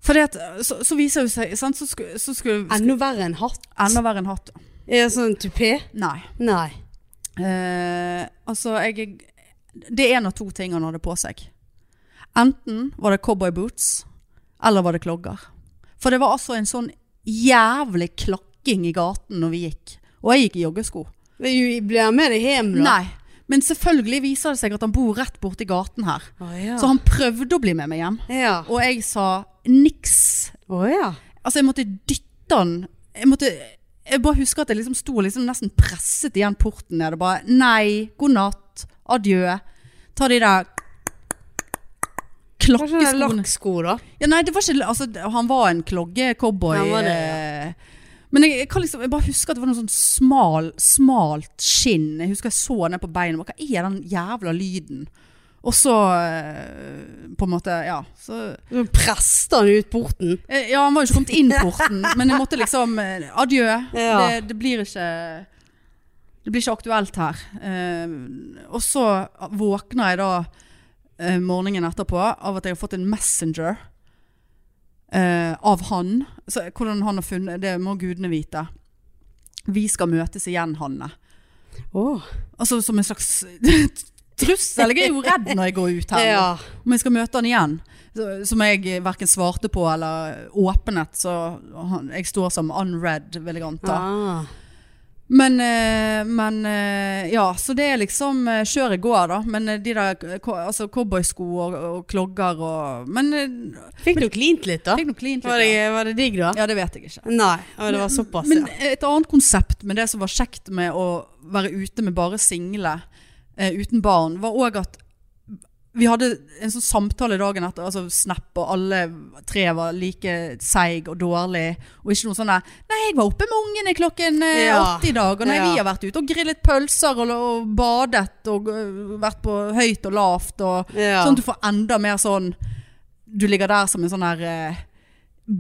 Speaker 1: Fordi at, så, så viser det seg sant, Så skulle, så skulle
Speaker 2: Enda verre enn hatt?
Speaker 1: enda verre enn hatt.
Speaker 2: Er det sånn tupé?
Speaker 1: Nei.
Speaker 2: Nei.
Speaker 1: Eh, altså, jeg Det er en av to ting han hadde på seg. Enten var det cowboy boots, eller var det klogger. For det var altså en sånn jævlig klakking i gaten når vi gikk. Og jeg gikk i joggesko.
Speaker 2: Men jo, Blir han med deg hjem, da?
Speaker 1: Nei. Men selvfølgelig viser det seg at han bor rett borti gaten her.
Speaker 2: Å ja.
Speaker 1: Så han prøvde å bli med meg hjem.
Speaker 2: Ja.
Speaker 1: Og jeg sa niks.
Speaker 2: Å ja.
Speaker 1: Altså, jeg måtte dytte han. Jeg måtte Jeg bare husker at jeg liksom sto og liksom nesten presset igjen porten ned og bare Nei, god natt, adjø. Ta de der
Speaker 2: Kanskje det er
Speaker 1: klokkeskoene
Speaker 2: lakksko, da?
Speaker 1: ja, Nei, det var ikke Altså, han var en klogge-cowboy.
Speaker 2: Han var det,
Speaker 1: eh, Men jeg, jeg, kan liksom, jeg bare husker at det var noe sånn smal, smalt skinn. Jeg husker jeg så ned på beinet. Hva er den jævla lyden? Og så eh, På en måte, ja. Så
Speaker 2: Så presset han ut porten.
Speaker 1: Eh, Ja, han var jo ikke kommet inn porten, men jeg måtte liksom eh, Adjø.
Speaker 2: Ja.
Speaker 1: Det, det blir ikke Det blir ikke aktuelt her. Eh, og så våkner jeg da eh, morgenen etterpå av at jeg har fått en messenger eh, av han. Så hvordan han har funnet Det må gudene vite. Vi skal møtes igjen, Hanne.
Speaker 2: Åh.
Speaker 1: Altså som en slags trussel. Jeg er jo redd når jeg går ut her. nå.
Speaker 2: Ja.
Speaker 1: Om jeg skal møte han igjen, så- som jeg hverken svarte på eller åpnet, så han, jeg står som unread, vil jeg anta.
Speaker 2: Ah.
Speaker 1: Men, eh, men eh, ja, så det er liksom eh, kjør i går da, men eh, de der eh, ko- altså, cowboysko og, og klogger og Men eh,
Speaker 2: Fikk du klint litt, da?
Speaker 1: jeg fikk noe klint
Speaker 2: Var
Speaker 1: litt.
Speaker 2: det, var det digg, da?
Speaker 1: Ja, det vet jeg ikke.
Speaker 2: Nei. Å, det var såpass,
Speaker 1: Men eh,
Speaker 2: ja.
Speaker 1: et annet konsept med det som var kjekt med å være ute med bare single eh, uten barn, var òg at vi hadde en sånn samtale dagen etter, altså snap, og alle tre var like seig og dårlig. Og ikke noe sånn der 'Nei, jeg var oppe med ungene klokken eh,
Speaker 2: Ja.
Speaker 1: åtte i dag', og 'nei,
Speaker 2: Ja.
Speaker 1: vi har vært ute og grillet pølser og, og badet' og øh, vært på høyt og lavt og
Speaker 2: Ja.
Speaker 1: Sånn at du får enda mer sånn Du ligger der som en sånn her eh,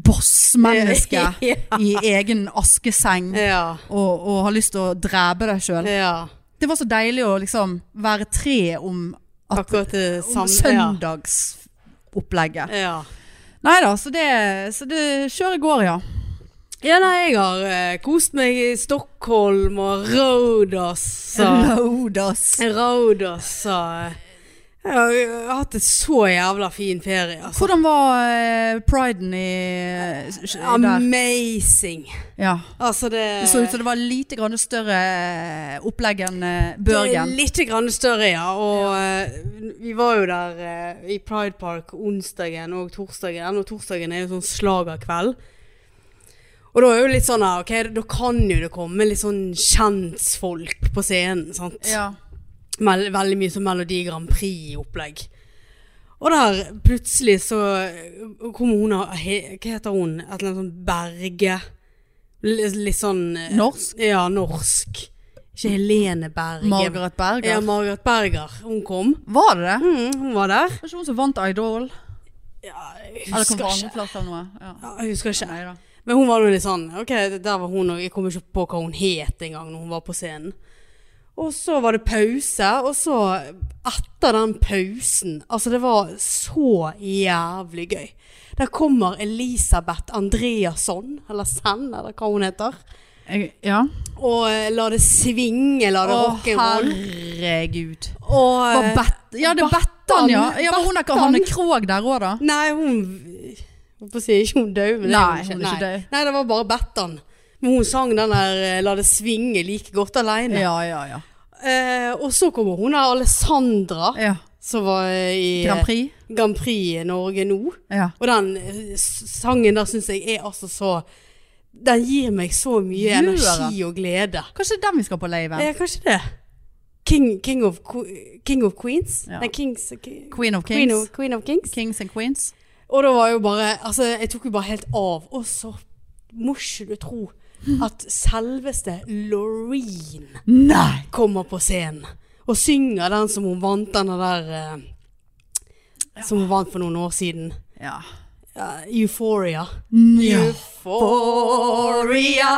Speaker 1: bossmenneske
Speaker 2: Ja.
Speaker 1: i egen askeseng
Speaker 2: Ja.
Speaker 1: og, og har lyst til å drepe deg sjøl.
Speaker 2: ja.
Speaker 1: Det var så deilig å liksom være tre om, at,
Speaker 2: Akkurat det
Speaker 1: om
Speaker 2: samme.
Speaker 1: søndagsopplegget.
Speaker 2: Ja. ja.
Speaker 1: Nei da, så det, så det kjøret går, ja.
Speaker 2: Ja, nei, jeg har eh, kost meg i Stockholm og Rhodos og
Speaker 1: Lodas.
Speaker 2: Rhodos og Jeg har jeg har hatt en så jævla fin ferie, altså.
Speaker 1: Hvordan var eh, priden i der?
Speaker 2: Amazing.
Speaker 1: Ja.
Speaker 2: Altså det
Speaker 1: Det så ut som det var lite grann større opplegg enn eh, Børgen.
Speaker 2: Litt grann større, ja. Og eh, vi var jo der eh, i Pride Park onsdagen og torsdagen. Og torsdagen er jo sånn slagerkveld. Og da er jo litt sånn ah, Ok, da kan jo det komme litt sånn kjentfolk på scenen, sant.
Speaker 1: Ja.
Speaker 2: Mel veldig mye sånn Melodi Grand Prix-opplegg. Og der plutselig så eh, kom hun av he- Hva heter hun? Et eller annet sånn Berge. Litt, litt sånn eh,
Speaker 1: Norsk?
Speaker 2: Ja, norsk. Ikke Helene Berge.
Speaker 1: Margaret Berger.
Speaker 2: Ja, Margaret Berger. Hun kom.
Speaker 1: Var det det?
Speaker 2: Mm, hun var
Speaker 1: Var
Speaker 2: der.
Speaker 1: det ikke hun som vant Idol? Eller
Speaker 2: Jeg
Speaker 1: kom
Speaker 2: husker
Speaker 1: på
Speaker 2: ikke.
Speaker 1: andreplass eller noe? Ja.
Speaker 2: Ja, jeg husker ikke.
Speaker 1: Nei da.
Speaker 2: Men hun var jo litt sånn Ok, der var hun og Jeg kom ikke på hva hun het engang når hun var på scenen. Og så var det pause, og så etter den pausen Altså, det var så jævlig gøy. Der kommer Elisabeth Andreasson, eller Senn, eller hva hun heter.
Speaker 1: Jeg, ja.
Speaker 2: Og eh, la det svinge, la det
Speaker 1: Å,
Speaker 2: rock'n'roll.
Speaker 1: herregud.
Speaker 2: Og
Speaker 1: Var
Speaker 2: eh,
Speaker 1: Bet- ja, det er Bettan, ja. ja men hun er ikke
Speaker 2: Bettan.
Speaker 1: Hanne Krogh der òg, da?
Speaker 2: Nei, hun Jeg holdt på å si ikke hun død, men det
Speaker 1: Nei,
Speaker 2: er
Speaker 1: hun er ikke
Speaker 2: Nei.
Speaker 1: død.
Speaker 2: Nei, det var bare Bettan. Men hun sang den der eh, 'La det svinge' like godt alene.
Speaker 1: Ja, ja, ja.
Speaker 2: Eh, og så kommer hun der Alessandra,
Speaker 1: ja.
Speaker 2: som var eh, i
Speaker 1: Grand Prix?
Speaker 2: eh, Grand Prix i Norge nå.
Speaker 1: Ja.
Speaker 2: Og den eh, s- sangen der syns jeg er altså så Den gir meg så mye
Speaker 1: Gjør
Speaker 2: energi og glede.
Speaker 1: Kanskje det er den vi skal på leiven?
Speaker 2: Ja, kanskje det. King, King, of, Que- King of Queens?
Speaker 1: Ja.
Speaker 2: Nei, Kings, Ki-
Speaker 1: Queen of
Speaker 2: Queen,
Speaker 1: Kings?
Speaker 2: of, Queen of Kings.
Speaker 1: Kings and Queens?
Speaker 2: Og da var jo bare Altså, jeg tok jo bare helt av. Og så må ikke du tro at selveste Loreen
Speaker 1: Nei!
Speaker 2: kommer på scenen og synger den som hun vant denne der eh, Som hun vant for noen år siden.
Speaker 1: Ja.
Speaker 2: Eh, Euphoria.
Speaker 1: Ja.
Speaker 2: Euphoria.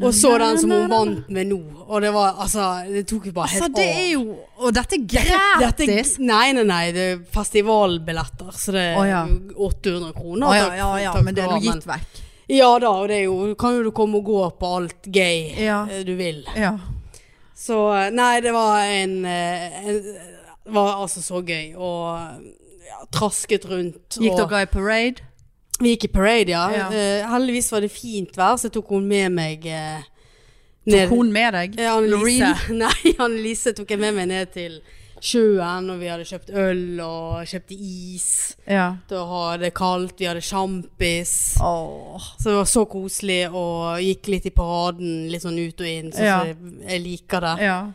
Speaker 2: Og så den som hun vant med nå. Og det var altså Det tok jo bare
Speaker 1: Så
Speaker 2: helt
Speaker 1: det
Speaker 2: av.
Speaker 1: er jo Og dette er
Speaker 2: Dette-
Speaker 1: gratis!
Speaker 2: nei, nei, nei. Det er festivalbilletter, så det er
Speaker 1: Å, ja.
Speaker 2: 800 kroner.
Speaker 1: Å ja,
Speaker 2: Takk-
Speaker 1: ja, ja,
Speaker 2: takk
Speaker 1: men det er
Speaker 2: skal
Speaker 1: nå
Speaker 2: du ha,
Speaker 1: gitt vekk.
Speaker 2: Ja da, og det er jo, kan jo du komme og gå på alt gøy
Speaker 1: Ja.
Speaker 2: eh, du vil.
Speaker 1: Ja.
Speaker 2: Så eh, nei, det var en, eh, en Det var altså så gøy. Og eh, ja, trasket rundt.
Speaker 1: Gikk
Speaker 2: og,
Speaker 1: dere i parade?
Speaker 2: Vi gikk i parade, ja.
Speaker 1: Ja.
Speaker 2: Eh, heldigvis var det fint vær, så jeg tok hun med meg eh,
Speaker 1: Tok hun med deg?
Speaker 2: Ja, Annelise.
Speaker 1: Loreen?
Speaker 2: Nei, Annelise tok jeg med meg ned til sjøen, og vi hadde kjøpt øl og kjøpte is.
Speaker 1: Ja.
Speaker 2: til å ha det kaldt, vi hadde sjampis.
Speaker 1: Åh.
Speaker 2: Så det var så koselig og gikk litt i paraden, litt sånn ut og inn, sånn
Speaker 1: Ja.
Speaker 2: som jeg- jeg liker det.
Speaker 1: Ja.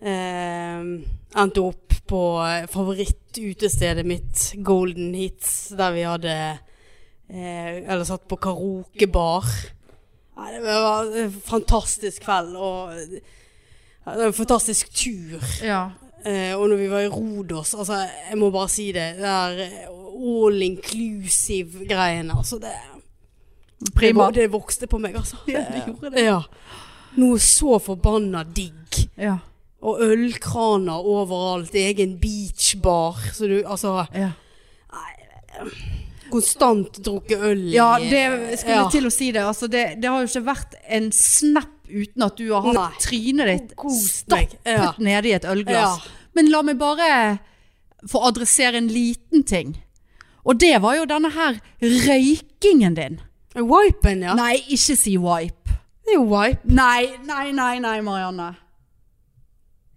Speaker 2: Eh, endte opp på favorittutestedet mitt, Golden Hits, der vi hadde eh, Eller satt på karaokebar. Nei, det var en fantastisk kveld og ja, det var en fantastisk tur.
Speaker 1: ja.
Speaker 2: Eh, og når vi var i Rodos, altså, jeg må bare si det, det der all inclusive-greiene, altså det, det,
Speaker 1: Prima.
Speaker 2: vo- det vokste på meg, altså.
Speaker 1: Ja, det gjorde
Speaker 2: Ja. Noe så forbanna digg.
Speaker 1: Ja.
Speaker 2: Og ølkraner overalt, egen beachbar, så du, altså,
Speaker 1: ja.
Speaker 2: konstant drukket øl. i-
Speaker 1: Ja, det skulle
Speaker 2: Ja.
Speaker 1: til å si det. Altså, det. Det har jo ikke vært en snap uten at du har hatt
Speaker 2: Nei.
Speaker 1: trynet ditt
Speaker 2: Kost meg.
Speaker 1: stappet
Speaker 2: Ja.
Speaker 1: nedi et ølglass.
Speaker 2: Ja.
Speaker 1: Men la meg bare få adressere en liten ting. Og det var jo denne her røykingen din.
Speaker 2: Wipen, ja.
Speaker 1: Nei, ikke si wipe.
Speaker 2: Det er jo wipe.
Speaker 1: Nei, nei, nei, nei, Marianne.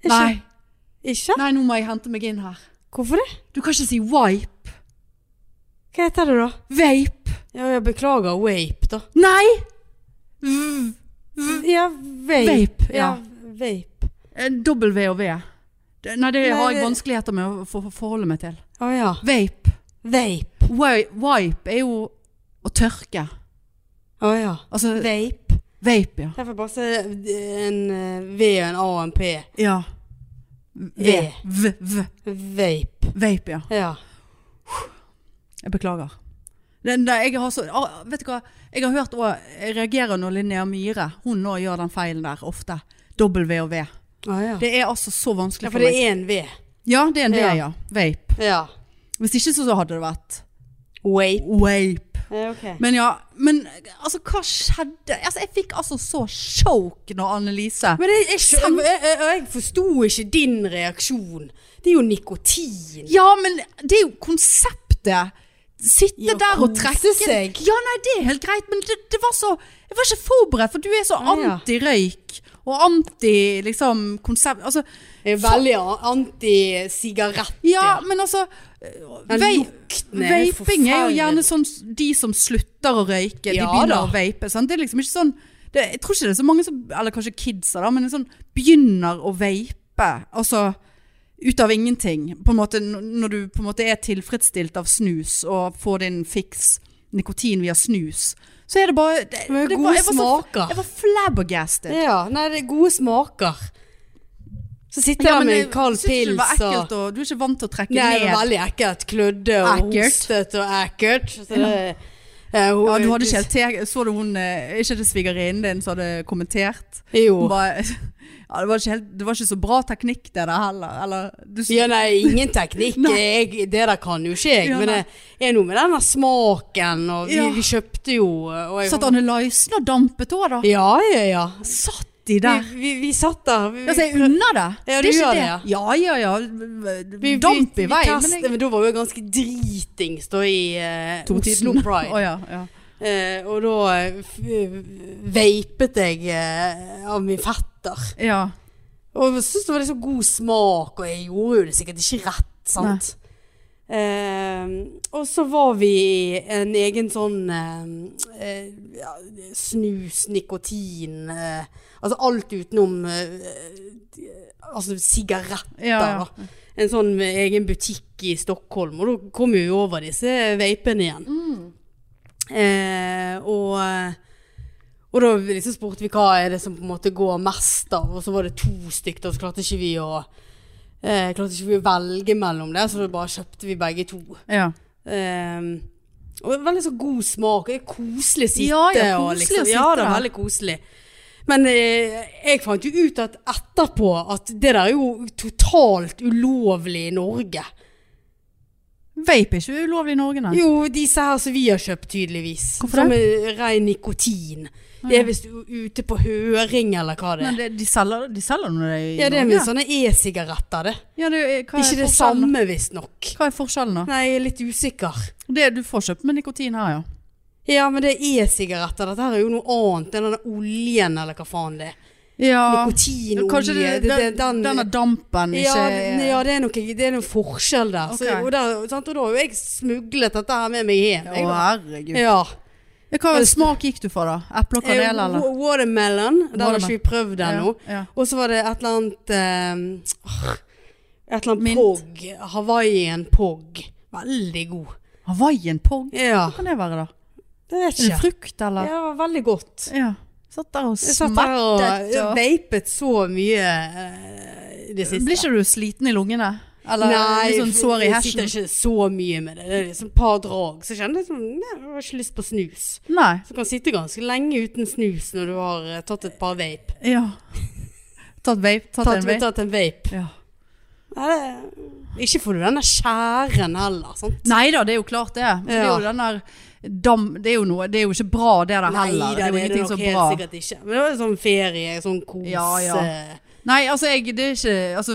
Speaker 2: Ikke-
Speaker 1: Nei,
Speaker 2: Ikke?
Speaker 1: nei, nå må jeg hente meg inn her.
Speaker 2: Hvorfor det?
Speaker 1: Du kan ikke si wipe.
Speaker 2: Hva heter det da?
Speaker 1: Vape.
Speaker 2: Ja, jeg beklager, vape da.
Speaker 1: Nei!
Speaker 2: Ja, vape.
Speaker 1: Vape, ja.
Speaker 2: Ja, vape.
Speaker 1: Eh, W og V. Det- Nei, det
Speaker 2: Nei,
Speaker 1: har jeg
Speaker 2: det-
Speaker 1: vanskeligheter med å for- forholde meg til.
Speaker 2: Å ja,
Speaker 1: Vape.
Speaker 2: vape.
Speaker 1: Wi- Wipe er jo å tørke.
Speaker 2: Å ja.
Speaker 1: Altså
Speaker 2: Vape.
Speaker 1: vape, ja.
Speaker 2: Jeg får bare se en eh, V og en A og en P.
Speaker 1: Ja. V.
Speaker 2: E.
Speaker 1: V. V.
Speaker 2: Vape.
Speaker 1: Vape, ja.
Speaker 2: Ja.
Speaker 1: Jeg beklager. Den der, jeg har så, ah, vet du hva, jeg har hørt også, jeg reagerer når Linnea Myhre, hun nå gjør den feilen der ofte. W og V.
Speaker 2: Å ja.
Speaker 1: Det er altså så vanskelig
Speaker 2: ja,
Speaker 1: for
Speaker 2: for det
Speaker 1: meg.
Speaker 2: er en V.
Speaker 1: Ja, det er en V,
Speaker 2: Ja.
Speaker 1: ja. Vape.
Speaker 2: Ja.
Speaker 1: Hvis ikke så, så hadde det vært
Speaker 2: Vape.
Speaker 1: Wape.
Speaker 2: Eh, ok.
Speaker 1: Men ja, men altså hva skjedde? Altså, jeg fikk altså så choke når Annelise
Speaker 2: Men jeg, jeg, skjø- jeg, jeg, jeg forsto ikke din reaksjon. Det er jo nikotin.
Speaker 1: Ja, men det er jo konseptet. Sitte
Speaker 2: Ja,
Speaker 1: der og
Speaker 2: kose
Speaker 1: trekke
Speaker 2: seg.
Speaker 1: Ja, nei, det er helt greit, men det, det var så Jeg var ikke forberedt, for du er så
Speaker 2: Ja, ja.
Speaker 1: anti-røyk og anti liksom konsept Altså,
Speaker 2: Jeg er veldig a- anti-sigarett.
Speaker 1: ja, men altså
Speaker 2: Den
Speaker 1: vei-
Speaker 2: lukten er helt
Speaker 1: Vaping er jo
Speaker 2: forferdelig.
Speaker 1: gjerne sånn s- de som slutter å røyke, de
Speaker 2: Ja
Speaker 1: begynner
Speaker 2: da.
Speaker 1: å vape. Sant? Det er liksom ikke sånn det, Jeg tror ikke det er så mange som Eller kanskje kidsa, da, men sånn begynner å vape. Altså ut av ingenting. På en måte, n- når du på en måte er tilfredsstilt av snus og får din fiks nikotin via snus, så er det bare Det,
Speaker 2: Men
Speaker 1: det
Speaker 2: gode
Speaker 1: var, jeg, var så,
Speaker 2: smaker.
Speaker 1: jeg var flabbergasted.
Speaker 2: Ja, nei, det er gode smaker. Så sitter
Speaker 1: Ja,
Speaker 2: jeg
Speaker 1: men
Speaker 2: med
Speaker 1: jeg
Speaker 2: en kald
Speaker 1: synes ikke det var
Speaker 2: pils og
Speaker 1: ekkelt, og du er ikke vant til å trekke
Speaker 2: Nei, det
Speaker 1: ned.
Speaker 2: var veldig ekkelt. Klødde og
Speaker 1: Ekkelt.
Speaker 2: hostet og ekkelt. Så det, ja, hun-
Speaker 1: Ja, du hadde ikke helt te... Så du hun eh, Ikke det svigerinnen din som hadde kommentert?
Speaker 2: Jo.
Speaker 1: Hun bare ja, det, var ikke helt, det var ikke så bra teknikk det der heller. Eller, du, s-
Speaker 2: Ja, nei, ingen teknikk. Jeg, det der kan jo ikke jeg.
Speaker 1: Ja,
Speaker 2: men
Speaker 1: nei.
Speaker 2: det er noe med den der smaken, og vi,
Speaker 1: Ja.
Speaker 2: vi kjøpte jo eh, og jeg,
Speaker 1: satt Annelisen og dampet òg, da?
Speaker 2: Ja, ja, ja.
Speaker 1: Satt de
Speaker 2: Vi,
Speaker 1: der?
Speaker 2: vi, vi satt der. Vi,
Speaker 1: Altså, jeg unner det.
Speaker 2: Ja,
Speaker 1: det
Speaker 2: du
Speaker 1: er
Speaker 2: gjør
Speaker 1: ikke
Speaker 2: det,
Speaker 1: det.
Speaker 2: ja.
Speaker 1: Ja, ja, ja.
Speaker 2: vi- vi-
Speaker 1: Damp
Speaker 2: vi
Speaker 1: i vei.
Speaker 2: testet,
Speaker 1: Men jeg,
Speaker 2: men da var vi jo ganske dritings da i eh, Oslo
Speaker 1: Totiden.
Speaker 2: Pride.
Speaker 1: Å, ja, ja.
Speaker 2: Eh, og da eh, f- veipet jeg eh, av min fetter.
Speaker 1: ja.
Speaker 2: Og jeg syntes det var liksom god smak, og jeg gjorde jo det sikkert ikke rett, sant? Ehm, og så var vi i en egen sånn eh, eh, ja, snus, nikotin eh, Altså alt utenom eh, eh, Altså sigaretter,
Speaker 1: Ja, ja.
Speaker 2: da. En sånn med egen butikk i Stockholm, og da kom vi jo over disse veipene igjen.
Speaker 1: Mm.
Speaker 2: Eh, og eh, og da liksom spurte vi hva er det som på en måte går mest av, og så var det to stykk, og så klarte ikke vi å eh, Klarte ikke vi å velge mellom det, så da bare kjøpte vi begge to.
Speaker 1: ja.
Speaker 2: Ehm, og det er veldig så god smak. Det er koselig å sitte.
Speaker 1: Ja, ja,
Speaker 2: og
Speaker 1: koselig å
Speaker 2: liksom,
Speaker 1: sitte
Speaker 2: ja, det er
Speaker 1: der.
Speaker 2: veldig koselig. Men eh, jeg fant jo ut at etterpå at det der er jo totalt ulovlig i Norge.
Speaker 1: Vape er ikke ulovlig i Norge, nei.
Speaker 2: Jo, disse her som vi har kjøpt tydeligvis.
Speaker 1: Hvorfor
Speaker 2: som er ren nikotin. Det er visst u- ute på høring eller hva det er.
Speaker 1: Men det, de selger de selger nå det i
Speaker 2: Ja, det er med
Speaker 1: Norge?
Speaker 2: sånne e-sigaretter, det.
Speaker 1: Ja, det er, hva er
Speaker 2: Det er ikke det
Speaker 1: forskjellen, da?
Speaker 2: samme, visstnok.
Speaker 1: Hva er forskjellen, da?
Speaker 2: Nei, jeg er litt usikker.
Speaker 1: Det du får kjøpt med nikotin her, ja.
Speaker 2: Ja, men det er e-sigaretter. Dette her er jo noe annet enn denne oljen, eller hva faen det er.
Speaker 1: Ja. Ja,
Speaker 2: Nikotinolje.
Speaker 1: Kanskje det,
Speaker 2: det- det-
Speaker 1: den, denne dampen
Speaker 2: ja,
Speaker 1: ikke
Speaker 2: den- ja, det er noe, det er noe forskjell der. Så,
Speaker 1: Ok.
Speaker 2: og, der sant? og da har jo jeg smuglet dette her med meg hjem.
Speaker 1: Å,
Speaker 2: jeg da.
Speaker 1: herregud.
Speaker 2: Ja.
Speaker 1: Ja, Hva smak gikk du for, da? Eple og
Speaker 2: Eh,
Speaker 1: kanel, eller?
Speaker 2: wa- Watermelon. Den har
Speaker 1: Watermelon.
Speaker 2: ikke vi prøvd ennå.
Speaker 1: Ja, ja.
Speaker 2: Og så var det et eller annet eh, Et eller annet
Speaker 1: Mint.
Speaker 2: pog. Hawaiian pog. Veldig god.
Speaker 1: Hawaiian pog?
Speaker 2: Ja.
Speaker 1: Hva kan det være, da?
Speaker 2: Det vet
Speaker 1: Er det
Speaker 2: ikke.
Speaker 1: frukt, eller?
Speaker 2: Ja, det var veldig godt.
Speaker 1: Ja. Satt der og
Speaker 2: Jeg satt der og
Speaker 1: smertet
Speaker 2: ja,
Speaker 1: og
Speaker 2: vapet så mye eh, i det siste. eh,
Speaker 1: Blir ikke du sliten i lungene? Eller
Speaker 2: Nei,
Speaker 1: litt sånn sår i
Speaker 2: jeg sitter
Speaker 1: hesjen?
Speaker 2: ikke så mye med det. Det er liksom et par drag. Så jeg kjenner liksom, nei, jeg har ikke lyst på snus.
Speaker 1: Nei.
Speaker 2: Så du kan sitte ganske lenge uten snus når du har eh, tatt et par vape.
Speaker 1: Ja. Tatt vape? Tatt,
Speaker 2: Tatt,
Speaker 1: en vape?
Speaker 2: tatt en vape.
Speaker 1: Ja.
Speaker 2: Nei, det- ikke får du denne skjæren heller, sant?
Speaker 1: Nei da, det er jo klart det. Men Det er jo den der dam... Det er jo noe Det er jo ikke bra, det der heller.
Speaker 2: Neida,
Speaker 1: det er jo ingenting
Speaker 2: nok
Speaker 1: som er
Speaker 2: helt
Speaker 1: bra.
Speaker 2: sikkert ikke. Men det var en sånn ferie, sånn kos.
Speaker 1: Ja, ja.
Speaker 2: eh,
Speaker 1: Nei, altså, jeg Det er ikke Altså,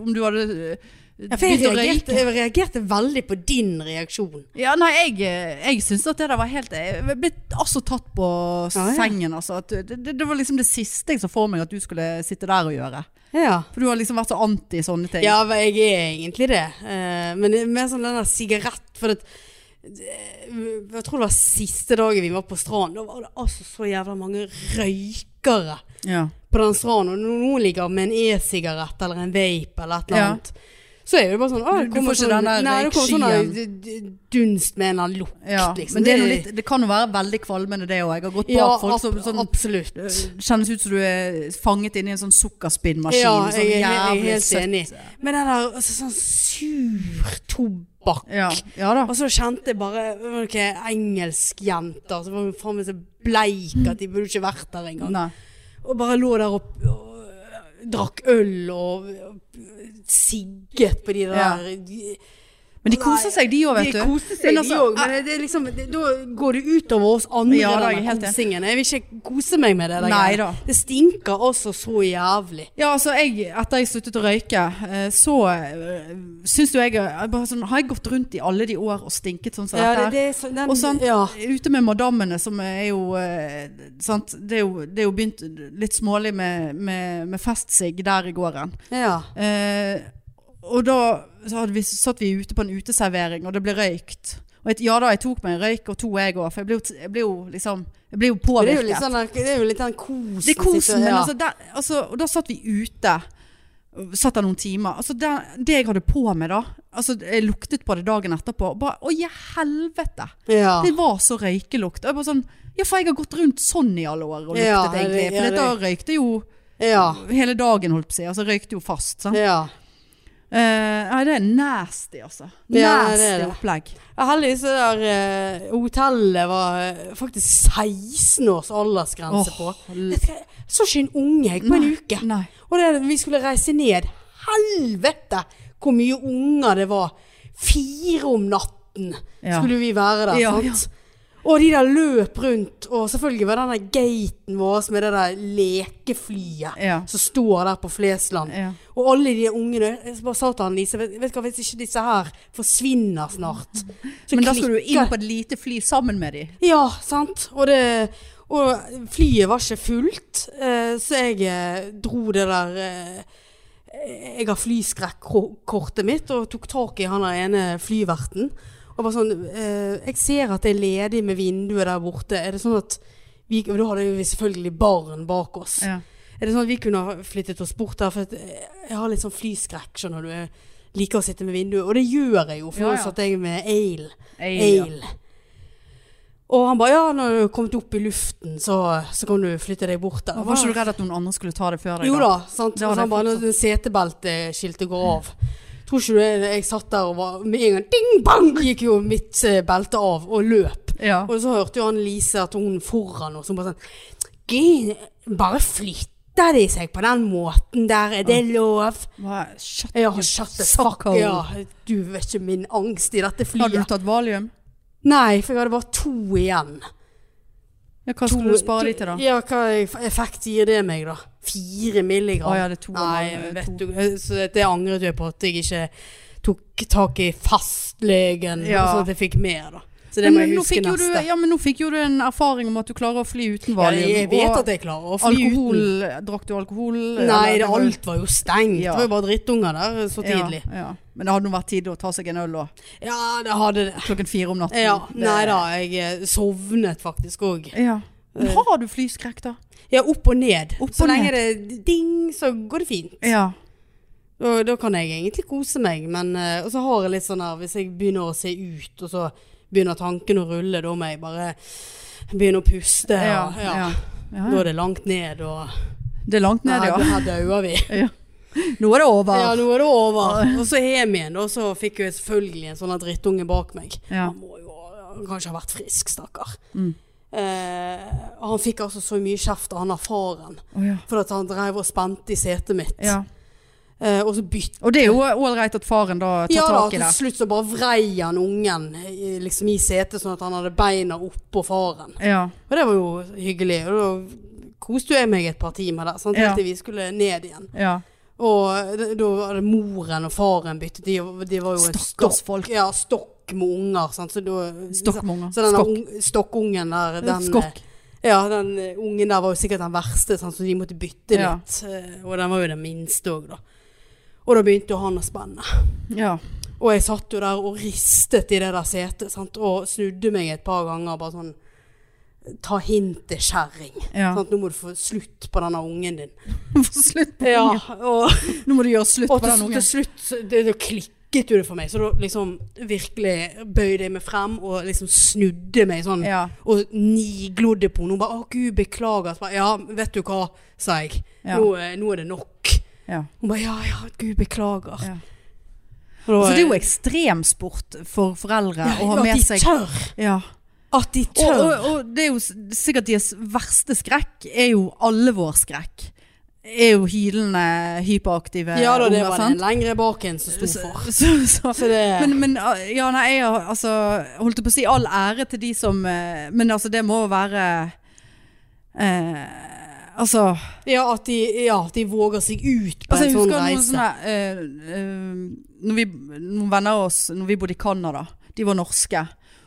Speaker 1: om du hadde øh,
Speaker 2: Ja, for jeg
Speaker 1: begynt å
Speaker 2: reagerte,
Speaker 1: røyke
Speaker 2: jeg reagerte veldig på din reaksjon.
Speaker 1: Ja, nei, jeg, eh, jeg syns at det der var helt Jeg ble altså tatt på
Speaker 2: Ja, ja.
Speaker 1: sengen, altså. At det, det, det var liksom det siste jeg så for meg at du skulle sitte der og gjøre.
Speaker 2: Ja.
Speaker 1: For du har liksom vært så anti sånne ting.
Speaker 2: Ja, men jeg er egentlig det. Eh, men det er mer sånn den der sigarett For det, det- jeg tror det var siste dagen vi var på stranden. Da var det altså så jævla mange røykere
Speaker 1: Ja.
Speaker 2: på den stranden. Og når noen ligger med en e-sigarett eller en vape eller et eller
Speaker 1: Ja.
Speaker 2: annet, så er det bare sånn å,
Speaker 1: Du-
Speaker 2: det
Speaker 1: du
Speaker 2: kommer
Speaker 1: får ikke den der
Speaker 2: nei, det kommer sånn
Speaker 1: røykskyen.
Speaker 2: der d- d- dunst med en eller annen lukt,
Speaker 1: Ja,
Speaker 2: liksom.
Speaker 1: Men det, er noe litt, det kan jo være veldig kvalmende, det òg. Jeg har gått bak
Speaker 2: ja,
Speaker 1: folk som
Speaker 2: ab-
Speaker 1: sånn,
Speaker 2: absolutt.
Speaker 1: kjennes ut som du er fanget inni en sånn sukkerspinnmaskin.
Speaker 2: Ja,
Speaker 1: sånn
Speaker 2: jeg er, jeg er
Speaker 1: jævlig
Speaker 2: helt
Speaker 1: søtt.
Speaker 2: enig. Men den der altså, sånn sur tobakk
Speaker 1: Ja, ja da.
Speaker 2: Og så kjente jeg bare det var noen engelskjenter som var faen meg så bleik at de burde ikke vært der engang.
Speaker 1: Nei.
Speaker 2: Og bare lå der og, og øh, drakk øl og, og sigget på de der
Speaker 1: Ja.
Speaker 2: de-
Speaker 1: Men de koser seg, de òg, vet du.
Speaker 2: De koser seg,
Speaker 1: Men
Speaker 2: de
Speaker 1: altså,
Speaker 2: òg, men det er liksom, det, da går det utover oss andre.
Speaker 1: Ja, da er jeg
Speaker 2: denne
Speaker 1: helt enig.
Speaker 2: kosingen. Jeg vil ikke kose meg med det. der
Speaker 1: Nei
Speaker 2: greia.
Speaker 1: da.
Speaker 2: Det stinker også så jævlig.
Speaker 1: Ja, altså jeg, etter jeg sluttet å røyke, eh, så eh, syns jo jeg, jeg bare sånn, Har jeg gått rundt i alle de år og stinket sånn som dette? her? Og sånn,
Speaker 2: Ja.
Speaker 1: ute med madammene som er jo, eh, sant? Det, er jo det er jo begynt litt smålig med, med, med festsigg der i gården.
Speaker 2: ja.
Speaker 1: Eh, og da så hadde vi, satt vi ute på en uteservering, og det ble røykt. Og et, ja da, jeg tok meg en røyk, og to jeg òg, for jeg ble, jo, t- jeg ble jo liksom Jeg ble jo
Speaker 2: Det er
Speaker 1: påvirket.
Speaker 2: jo litt, sånn, der- det er jo litt den kosen.
Speaker 1: Det er kosen,
Speaker 2: sitter-
Speaker 1: men
Speaker 2: ja.
Speaker 1: altså, der, altså Og da satt vi ute. Satt der noen timer. Altså det, det jeg hadde på meg da altså Jeg luktet på det dagen etterpå. og Bare, Å, i helvete!
Speaker 2: ja.
Speaker 1: Det var så røykelukt. Og jeg bare sånn Ja, for jeg har gått rundt sånn i alle år og luktet,
Speaker 2: Ja, det-
Speaker 1: egentlig. For
Speaker 2: ja,
Speaker 1: dette røykte jo
Speaker 2: ja.
Speaker 1: hele dagen, holdt på å si. Altså røykte jo fast. Sant?
Speaker 2: ja.
Speaker 1: Eh, nei, det er nasty, altså.
Speaker 2: Ja, det
Speaker 1: nasty
Speaker 2: er det.
Speaker 1: opplegg.
Speaker 2: Ja, Heldigvis det der eh, hotellet var eh, faktisk 16 års aldersgrense
Speaker 1: Åh,
Speaker 2: på. Jeg skal- så ikke en unge jeg, på en uke.
Speaker 1: Nei.
Speaker 2: Og det, vi skulle reise ned. Helvete hvor mye unger det var. Fire om natten
Speaker 1: Ja.
Speaker 2: skulle vi være der.
Speaker 1: Ja,
Speaker 2: sant? Og de der løp rundt, og selvfølgelig var den der gaten vår med det der lekeflyet
Speaker 1: Ja.
Speaker 2: som står der på Flesland.
Speaker 1: Ja.
Speaker 2: Og alle de ungene Jeg bare sa til han Lise, vet, vet du hva, hvis ikke disse her forsvinner snart så
Speaker 1: Men da skal du
Speaker 2: klikker-
Speaker 1: inn på et lite fly sammen med de.
Speaker 2: ja, sant. Og, det, og flyet var ikke fullt, eh, så jeg eh, dro det der eh, Jeg har flyskrekk-kortet mitt og tok tak i han der ene flyverten. Og bare sånn eh, Jeg ser at det er ledig med vinduet der borte. Er det sånn at vi, og Da hadde vi selvfølgelig barn bak oss.
Speaker 1: Ja.
Speaker 2: Er det sånn at vi kunne ha flyttet oss bort der? For at eh, jeg har litt sånn flyskrekk, skjønner du. Jeg liker å sitte med vinduet. Og det gjør jeg jo, for
Speaker 1: Ja,
Speaker 2: nå
Speaker 1: ja.
Speaker 2: satt jeg med ale.
Speaker 1: Ei, ja.
Speaker 2: Ale. Og han ba ja, når du har kommet opp i luften, så, så kan du flytte deg bort der.
Speaker 1: Var ikke du redd at noen andre skulle ta det før deg?
Speaker 2: Jo
Speaker 1: da?
Speaker 2: da, sant.
Speaker 1: Det hadde
Speaker 2: Og så
Speaker 1: jeg
Speaker 2: han bare
Speaker 1: fått,
Speaker 2: når setebelteskiltet går av. Tror ikke du det? Jeg satt der og var med en gang ding bang gikk jo mitt eh, belte av og løp.
Speaker 1: Ja.
Speaker 2: Og så hørte jo han Lise at hun foran oss, hun bare sånn Gud, bare flytter de seg på den måten der, er det lov?
Speaker 1: Hva- shut
Speaker 2: Ja,
Speaker 1: you
Speaker 2: shut the
Speaker 1: suck
Speaker 2: fuck
Speaker 1: hole.
Speaker 2: ja, Du vet ikke min angst i dette
Speaker 1: Hadde du
Speaker 2: flyet.
Speaker 1: tatt valium?
Speaker 2: Nei, for jeg hadde bare to igjen.
Speaker 1: Ja, hva skulle du spare de til, da?
Speaker 2: Ja, hva eff- effekt gir det meg, da? Fire milligram?
Speaker 1: Å ja, det er to og en halv,
Speaker 2: Nei,
Speaker 1: eh,
Speaker 2: vet
Speaker 1: to.
Speaker 2: du, så det angret jeg på at jeg ikke tok tak i fastlegen,
Speaker 1: Ja.
Speaker 2: sånn at jeg fikk mer, da. Så det
Speaker 1: Men,
Speaker 2: må jeg
Speaker 1: nå
Speaker 2: huske
Speaker 1: fikk jo du,
Speaker 2: neste.
Speaker 1: ja, men nå fikk jo du en erfaring om at du klarer å fly uten
Speaker 2: Ja,
Speaker 1: valium.
Speaker 2: jeg vet
Speaker 1: og
Speaker 2: at jeg klarer å fly
Speaker 1: alkohol,
Speaker 2: uten.
Speaker 1: Drakk du alkohol?
Speaker 2: Nei,
Speaker 1: eller-
Speaker 2: det, alt var jo stengt.
Speaker 1: Ja.
Speaker 2: Det var jo bare drittunger der så tidlig.
Speaker 1: Ja, ja. Men det hadde nå vært tid å ta seg en øl òg.
Speaker 2: Ja, det hadde det.
Speaker 1: Klokken fire om natten.
Speaker 2: Ja, Eh.
Speaker 1: Det-
Speaker 2: nei da, jeg eh, sovnet faktisk òg.
Speaker 1: Ja. Men har du flyskrekk, da?
Speaker 2: Ja, opp og ned.
Speaker 1: Opp
Speaker 2: så
Speaker 1: og
Speaker 2: lenge det ding, så går det fint.
Speaker 1: Ja.
Speaker 2: Og da kan jeg egentlig kose meg, men eh, Og så har jeg litt sånn her Hvis jeg begynner å se ut, og så begynner tanken å rulle, da må jeg bare begynne å puste.
Speaker 1: Ja,
Speaker 2: og,
Speaker 1: ja. Ja,
Speaker 2: Da
Speaker 1: ja.
Speaker 2: er det langt ned, og
Speaker 1: Det er langt ned, ja.
Speaker 2: her, her dauer vi.
Speaker 1: Nå er det
Speaker 2: Ja,
Speaker 1: over.
Speaker 2: nå er det over. Og så hjem igjen, og så fikk jo jeg selvfølgelig en sånn her drittunge bak meg.
Speaker 1: Ja.
Speaker 2: Han må jo han kanskje ha vært frisk, stakkar.
Speaker 1: Mm.
Speaker 2: Eh, og han fikk altså så mye kjeft av han der faren,
Speaker 1: Å, ja.
Speaker 2: for at han drev og spente i setet mitt.
Speaker 1: ja.
Speaker 2: Eh, og så bytte
Speaker 1: Og det er jo ålreit at faren da tar
Speaker 2: ja, da,
Speaker 1: tak i
Speaker 2: til
Speaker 1: det.
Speaker 2: slutt så bare vrei han ungen i- liksom i setet, sånn at han hadde beina oppå faren.
Speaker 1: Ja.
Speaker 2: Og det var jo hyggelig. Og da koste jo jeg meg et par timer der, sant?
Speaker 1: Ja.
Speaker 2: helt til vi skulle ned igjen.
Speaker 1: ja.
Speaker 2: Og d- da var det moren og faren byttet, de, de var jo en
Speaker 1: Stakkars folk.
Speaker 2: Ja, stokk med unger, sant. Så da
Speaker 1: Stokk med unger.
Speaker 2: Så den
Speaker 1: Skokk. Eh,
Speaker 2: ung- stokkungen der, den
Speaker 1: Skokk.
Speaker 2: Ja, den eh, ungen der var jo sikkert den verste, sant? så de måtte bytte
Speaker 1: Ja.
Speaker 2: litt. Eh, Og den var jo den minste òg, da. Og da begynte jo han å spenne.
Speaker 1: Ja.
Speaker 2: Og jeg satt jo der og ristet i det der setet, sant? og snudde meg et par ganger, bare sånn Ta hintet, kjerring.
Speaker 1: ja.
Speaker 2: Sant? Nå må du få slutt på denne ungen din.
Speaker 1: Få slutt på ungen.
Speaker 2: og,
Speaker 1: Nå må du gjøre slutt
Speaker 2: og
Speaker 1: på
Speaker 2: til,
Speaker 1: den
Speaker 2: til
Speaker 1: ungen.
Speaker 2: slutt så- det, det klikket jo det for meg, så da liksom virkelig bøyde jeg meg frem og liksom snudde meg sånn.
Speaker 1: Ja.
Speaker 2: Og niglodde på henne. Hun bare 'Å, gud, beklager'. Så bare, ja, vet du hva, sa jeg.
Speaker 1: Ja.
Speaker 2: Nå, eh, nå er det nok.
Speaker 1: Ja.
Speaker 2: Hun bare 'Ja, ja, gud, beklager'.
Speaker 1: Ja.
Speaker 2: Og da- eh,
Speaker 1: Så det er jo ekstremsport for foreldre
Speaker 2: ja,
Speaker 1: å ha
Speaker 2: at
Speaker 1: med
Speaker 2: de
Speaker 1: seg
Speaker 2: tør.
Speaker 1: ja.
Speaker 2: At de
Speaker 1: og,
Speaker 2: tør.
Speaker 1: og, og det er jo s- sikkert deres verste skrekk er jo alle vår skrekk. er jo hylende hyperaktive
Speaker 2: Ja da, det var
Speaker 1: sant?
Speaker 2: den lengre baken som sto for.
Speaker 1: Så, så, så.
Speaker 2: Så det
Speaker 1: Men, men ja, nei, jeg har, altså, holdt på å si all ære til de som eh, Men altså, det må være eh, Altså
Speaker 2: Ja, at de, ja, at de våger seg ut på
Speaker 1: Altså,
Speaker 2: en
Speaker 1: jeg
Speaker 2: sånn
Speaker 1: husker noen
Speaker 2: reise.
Speaker 1: sånne eh, eh, når, vi, noen venner av oss Når vi bodde i Canada De var norske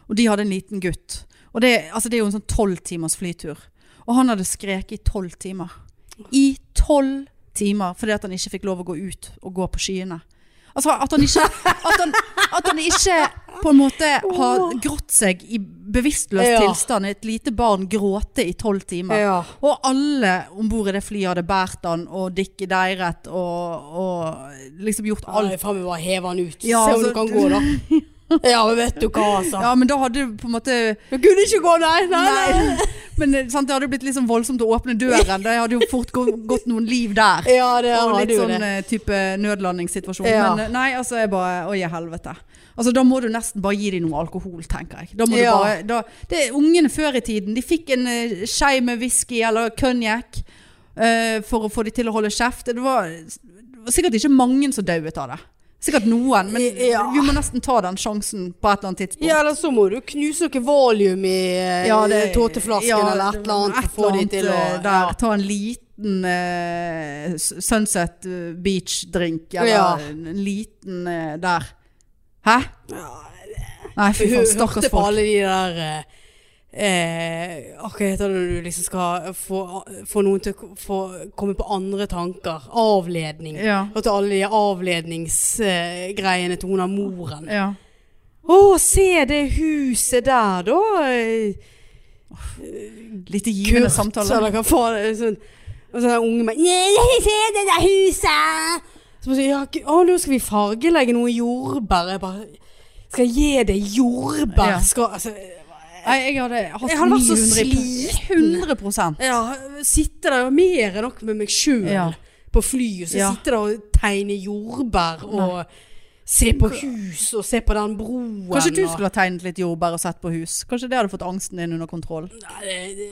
Speaker 1: Og de hadde en liten gutt Og det, altså, det er jo en sånn 12 timers flytur Og han hadde skreket i 12 timer I 12 timer Fordi at han ikke fikk lov å gå ut Og gå på skyene Altså at han ikke At han, at han ikke på en måte har grått seg I bevisstløs
Speaker 2: Ja.
Speaker 1: tilstand Et lite barn gråte i 12 timer
Speaker 2: Ja.
Speaker 1: og alle om bord i det flyet hadde båret han og Dick i deiret og, og liksom gjort alt.
Speaker 2: Alle faen meg bare heve han ut.
Speaker 1: Ja,
Speaker 2: Se om
Speaker 1: altså,
Speaker 2: du kan gå, da. Ja, men vet du hva, altså.
Speaker 1: Ja, men da hadde du på en måte
Speaker 2: Du kunne ikke gå, nei. nei, nei.
Speaker 1: Men eh, sant, det hadde blitt litt sånn voldsomt å åpne døren. Det hadde jo fort gå- gått noen liv der.
Speaker 2: Ja, det
Speaker 1: og
Speaker 2: har
Speaker 1: litt
Speaker 2: du
Speaker 1: sånn
Speaker 2: det.
Speaker 1: eh, type nødlandingssituasjon.
Speaker 2: Ja.
Speaker 1: Men eh, nei, altså jeg bare Å, i helvete. Altså, da må du nesten bare gi dem noe alkohol, tenker jeg. Da må
Speaker 2: Ja.
Speaker 1: du bare, da, det, ungene før i tiden, de fikk en eh, skei med whisky eller konjakk eh, for å få dem til å holde kjeft. Det var, det var sikkert ikke mange som dauet av det. Sikkert noen, men
Speaker 2: Ja.
Speaker 1: vi må nesten ta den sjansen på et eller annet tidspunkt.
Speaker 2: eh, Ja, eller så må du knuse noe valium i eh,
Speaker 1: Ja, det-
Speaker 2: tåteflasken
Speaker 1: ja,
Speaker 2: eller et eller annet.
Speaker 1: et
Speaker 2: for å få
Speaker 1: eller
Speaker 2: de
Speaker 1: annet,
Speaker 2: til å
Speaker 1: eh, der, Ta en liten eh, s- Sunset eh, Beach-drink, eller
Speaker 2: Ja.
Speaker 1: en en liten eh, der. Hæ?
Speaker 2: Ja,
Speaker 1: Nei, fy faen,
Speaker 2: Hun hørte
Speaker 1: stakkars
Speaker 2: på
Speaker 1: folk.
Speaker 2: alle de der eh, eh, Hva heter det når du liksom skal få, få noen til å ko- få, komme på andre tanker? Avledning.
Speaker 1: Ja.
Speaker 2: Hørte alle de avledningsgreiene til hun av moren.
Speaker 1: Ja.
Speaker 2: Å, se det huset der, da. eh,
Speaker 1: Litt givende samtaler.
Speaker 2: eller hva faen. det er Sånn. Og så er det unge menn «Nei, nei, Se det der huset! Så må jeg si, ja, g- å, nå skal vi fargelegge noe jordbær. Jeg bare Skal jeg gi deg jordbær?
Speaker 1: Ja.
Speaker 2: Skal, altså,
Speaker 1: Nei, jeg hadde hatt
Speaker 2: Jeg hadde vært så
Speaker 1: 900 100
Speaker 2: Ja, sitte der og mer enn nok med meg sjøl
Speaker 1: Ja.
Speaker 2: på flyet. Så
Speaker 1: Ja.
Speaker 2: sitte der og tegne jordbær og se på hus og se på den broen.
Speaker 1: Kanskje du
Speaker 2: og-
Speaker 1: skulle ha tegnet litt jordbær og sett på hus? Kanskje det hadde fått angsten din under kontroll?
Speaker 2: Nei, det, det,